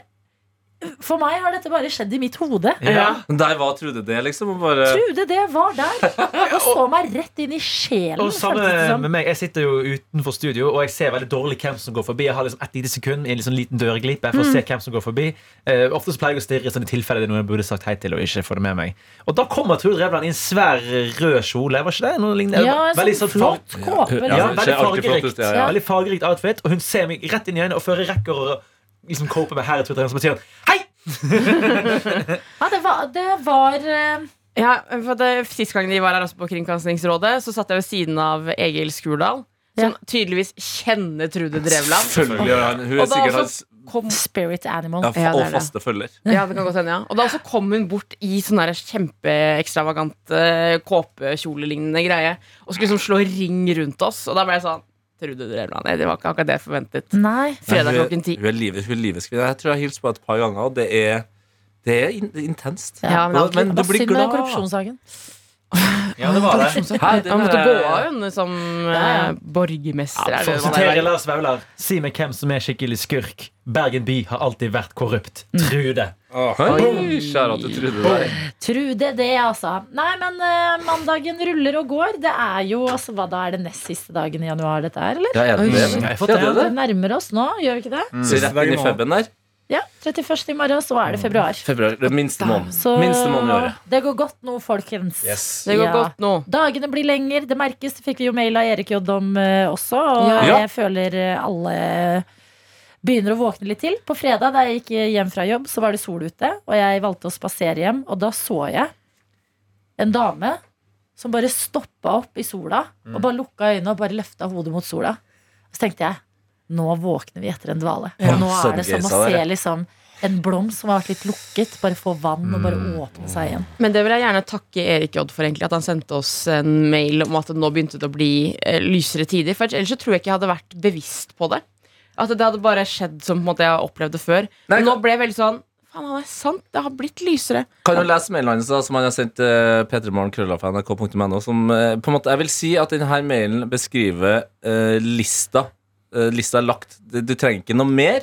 [SPEAKER 2] For meg har dette bare skjedd i mitt hode.
[SPEAKER 6] Men der var Trude det, liksom. Og bare,
[SPEAKER 2] Trude, det var der. Og så meg rett inn i sjelen.
[SPEAKER 4] Og sånn, eh,
[SPEAKER 2] føltes det
[SPEAKER 4] samme
[SPEAKER 2] som.
[SPEAKER 4] med meg, Jeg sitter jo utenfor studio og jeg ser veldig dårlig hvem som går forbi. Jeg har liksom et lite sekund i en liksom liten dørglipe for å
[SPEAKER 2] Mm.
[SPEAKER 4] se hvem som går forbi. Eh, ofte så pleier jeg å stirre i sånne tilfeller det er noen jeg burde sagt hei til. Og ikke får det med meg Og da kommer Trude Drevland i en svær rød kjole. Var ikke det? Noe lignende.
[SPEAKER 2] Ja, en
[SPEAKER 4] veldig
[SPEAKER 2] sånn
[SPEAKER 4] sånn far-
[SPEAKER 2] flott kåpe.
[SPEAKER 6] Ja,
[SPEAKER 4] ja,
[SPEAKER 2] liksom.
[SPEAKER 4] veldig,
[SPEAKER 6] det ser alltid flott
[SPEAKER 4] fargerikt,
[SPEAKER 6] ut, ja, ja.
[SPEAKER 4] veldig fargerikt outfit. Og hun ser meg rett inn i øynene, og før jeg rekker å liksom cope med her, Trude Drevland, så bare sier hun hei!
[SPEAKER 2] Ja, det var, det var eh,
[SPEAKER 5] Ja, for det, Sist gang de var her også på Kringkastingsrådet, så satt jeg ved siden av Egil Skurdal. Som tydeligvis kjenner Trude Drevland.
[SPEAKER 6] Selvfølgelig gjør han Hun
[SPEAKER 5] Og da
[SPEAKER 6] er sikkert
[SPEAKER 5] også
[SPEAKER 6] hans
[SPEAKER 5] Kom,
[SPEAKER 2] Spirit Animal.
[SPEAKER 6] ja,
[SPEAKER 5] Ja, det er
[SPEAKER 6] og
[SPEAKER 5] det.
[SPEAKER 6] faste følger.
[SPEAKER 5] ja, det kan godt hende, ja. Og da også kom hun bort i sånn der kjempeekstravagant eh, kåpekjolelignende greie. Og skulle liksom slå ring rundt oss. Og da ble jeg sånn Trude Drevland. nei, Det var ikke akkurat det jeg forventet.
[SPEAKER 2] Nei.
[SPEAKER 5] Fredag
[SPEAKER 6] Nei, hun er-
[SPEAKER 5] klokken ti.
[SPEAKER 6] Hun er livet, hun er livets kvinne. Jeg tror jeg har hilst på et par ganger, og det er, det er in intenst.
[SPEAKER 5] Ja, men det er
[SPEAKER 6] men du
[SPEAKER 2] Hva
[SPEAKER 6] blir
[SPEAKER 2] synd med
[SPEAKER 6] glad.
[SPEAKER 2] korrupsjonssaken.
[SPEAKER 4] Ja, det var det.
[SPEAKER 6] Hæ, den
[SPEAKER 5] Han måtte
[SPEAKER 6] er-
[SPEAKER 5] gå av, hun, som
[SPEAKER 2] Ja, ja.
[SPEAKER 5] eh, borgermester. er
[SPEAKER 4] For
[SPEAKER 5] det
[SPEAKER 4] å
[SPEAKER 5] hva det
[SPEAKER 4] sitere
[SPEAKER 5] er.
[SPEAKER 4] Lars Vaular, si meg hvem som er skikkelig skurk. Bergen by har alltid vært korrupt.
[SPEAKER 2] Mm.
[SPEAKER 4] Trude.
[SPEAKER 6] Oi, kjære at du trodde det.
[SPEAKER 2] Trude, det, altså. Nei, men eh, mandagen ruller og går. Det er jo altså, hva da er det nest siste dagen i januar, dette er, eller?
[SPEAKER 6] Ja, er
[SPEAKER 5] Oi.
[SPEAKER 6] den det?
[SPEAKER 4] Har jeg fått
[SPEAKER 6] Ja,
[SPEAKER 4] det?
[SPEAKER 6] det er
[SPEAKER 2] Vi
[SPEAKER 6] det. Mm.
[SPEAKER 2] nærmer oss nå, gjør vi ikke det?
[SPEAKER 6] Så rett inn i febben der.
[SPEAKER 2] Ja. 31. i morgen, så er det februar.
[SPEAKER 6] Februar, det er minste måneden.
[SPEAKER 2] Så
[SPEAKER 6] Mm. Minste måneden i året.
[SPEAKER 2] det går godt nå, folkens.
[SPEAKER 3] Yes.
[SPEAKER 5] Det går
[SPEAKER 2] Ja.
[SPEAKER 5] godt nå.
[SPEAKER 2] Dagene blir lengre, det merkes. Det fikk vi jo mail av Erik Jodd om eh, også. Og
[SPEAKER 6] Ja.
[SPEAKER 2] jeg føler eh, alle begynner å våkne litt til. På fredag da jeg gikk hjem fra jobb, så var det sol ute, og jeg valgte å spasere hjem. Og da så jeg en dame som bare stoppa opp i sola, og bare lukka øynene og bare løfta hodet mot sola. Og så tenkte jeg nå våkner vi etter en dvale. Og nå
[SPEAKER 6] så
[SPEAKER 2] er det som å
[SPEAKER 6] gøysa
[SPEAKER 2] se
[SPEAKER 6] dere.
[SPEAKER 2] liksom en blomst som har vært litt lukket, bare få vann og bare åpne seg igjen.
[SPEAKER 5] Men det vil jeg gjerne takke Erik Jodd for, egentlig, at han sendte oss en mail om at det nå begynte det å bli eh, lysere tider. For ellers så tror jeg ikke jeg hadde vært bevisst på det. At det hadde bare skjedd som på en måte, jeg har opplevd det før.
[SPEAKER 6] Nei,
[SPEAKER 5] Men nå
[SPEAKER 6] kan-
[SPEAKER 5] ble jeg veldig sånn Faen, han er sant. Det har blitt lysere.
[SPEAKER 6] Kan jo lese mailen hans da, som han har sendt uh, p3morgen.krøllafnrk.no. Som eh, på en måte Jeg vil si at denne mailen beskriver eh, lista. Eh, lista er lagt. Du, du trenger ikke noe mer.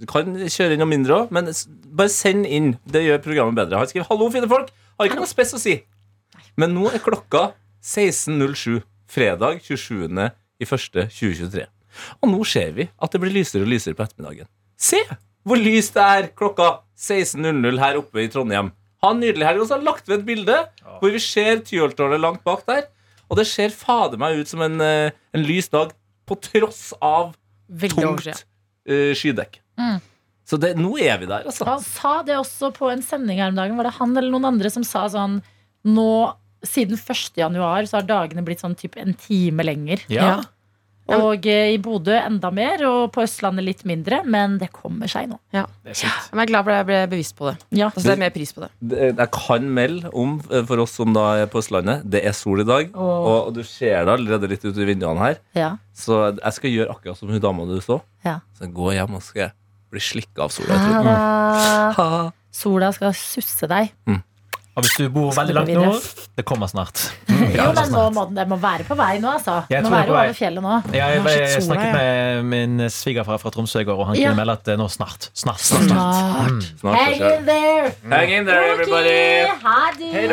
[SPEAKER 6] Du kan kjøre inn noe mindre òg, men s- bare send inn. Det gjør programmet bedre. Han skriver 'Hallo, fine folk'. Har ikke noe spes å si. Men nå er klokka 16.07 fredag 27.01.2023. Og nå ser vi at det blir lysere og lysere på ettermiddagen. Se hvor lyst det er klokka 16.00 her oppe i Trondheim. Ha en nydelig helg. Og så har jeg lagt ved et bilde hvor vi ser Tyholtårnet langt bak der. Og det ser fader meg ut som en, eh, en lys dag på tross av
[SPEAKER 5] Veldig år
[SPEAKER 6] tungt
[SPEAKER 5] siden.
[SPEAKER 6] eh, skydekk.
[SPEAKER 2] Mm.
[SPEAKER 6] Så det, nå er vi der, altså.
[SPEAKER 2] Han sa det også på en sending her om dagen. Var det han eller noen andre som sa sånn Nå, siden 1. januar, så har dagene blitt sånn typ en time lenger.
[SPEAKER 5] Ja.
[SPEAKER 2] Og eh, i Bodø enda mer, og på Østlandet litt mindre. Men det kommer seg nå.
[SPEAKER 4] Det er sant.
[SPEAKER 5] Men jeg er glad for at jeg ble bevisst på det.
[SPEAKER 2] Ja.
[SPEAKER 5] Da setter jeg mer pris på det.
[SPEAKER 6] Det- Jeg kan melde om, eh, for oss som da er på Østlandet, det er sol i dag. Og, og du ser det allerede litt ut i vinduene her.
[SPEAKER 2] Ja.
[SPEAKER 6] Så jeg skal gjøre akkurat som hun dama du så.
[SPEAKER 2] Ja.
[SPEAKER 6] Så jeg går hjem og skal jeg bli slikka av sola. Jeg tror.
[SPEAKER 2] Ha det. Sola skal susse deg.
[SPEAKER 4] Og hvis du bor veldig langt
[SPEAKER 2] videre.
[SPEAKER 4] nord, det kommer snart.
[SPEAKER 2] Jo, men nå må den, den må være på vei nå, altså.
[SPEAKER 4] Jeg
[SPEAKER 2] Den må
[SPEAKER 4] tror den er
[SPEAKER 2] være
[SPEAKER 4] på vei.
[SPEAKER 2] over fjellet nå.
[SPEAKER 4] Jeg,
[SPEAKER 5] Å, shit, sola,
[SPEAKER 4] snakket
[SPEAKER 5] ja.
[SPEAKER 4] med min svigerfar fra Tromsø i går, og han
[SPEAKER 2] Ja.
[SPEAKER 4] kunne melde at eh, nå snart. Snart, snart, snart.
[SPEAKER 2] Snart.
[SPEAKER 6] Snart skal
[SPEAKER 2] Hang
[SPEAKER 6] jeg-
[SPEAKER 2] in there!
[SPEAKER 6] Hang in there, everybody!
[SPEAKER 2] Ha det!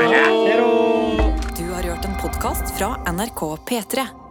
[SPEAKER 1] Du har hørt en podkast fra NRK P3.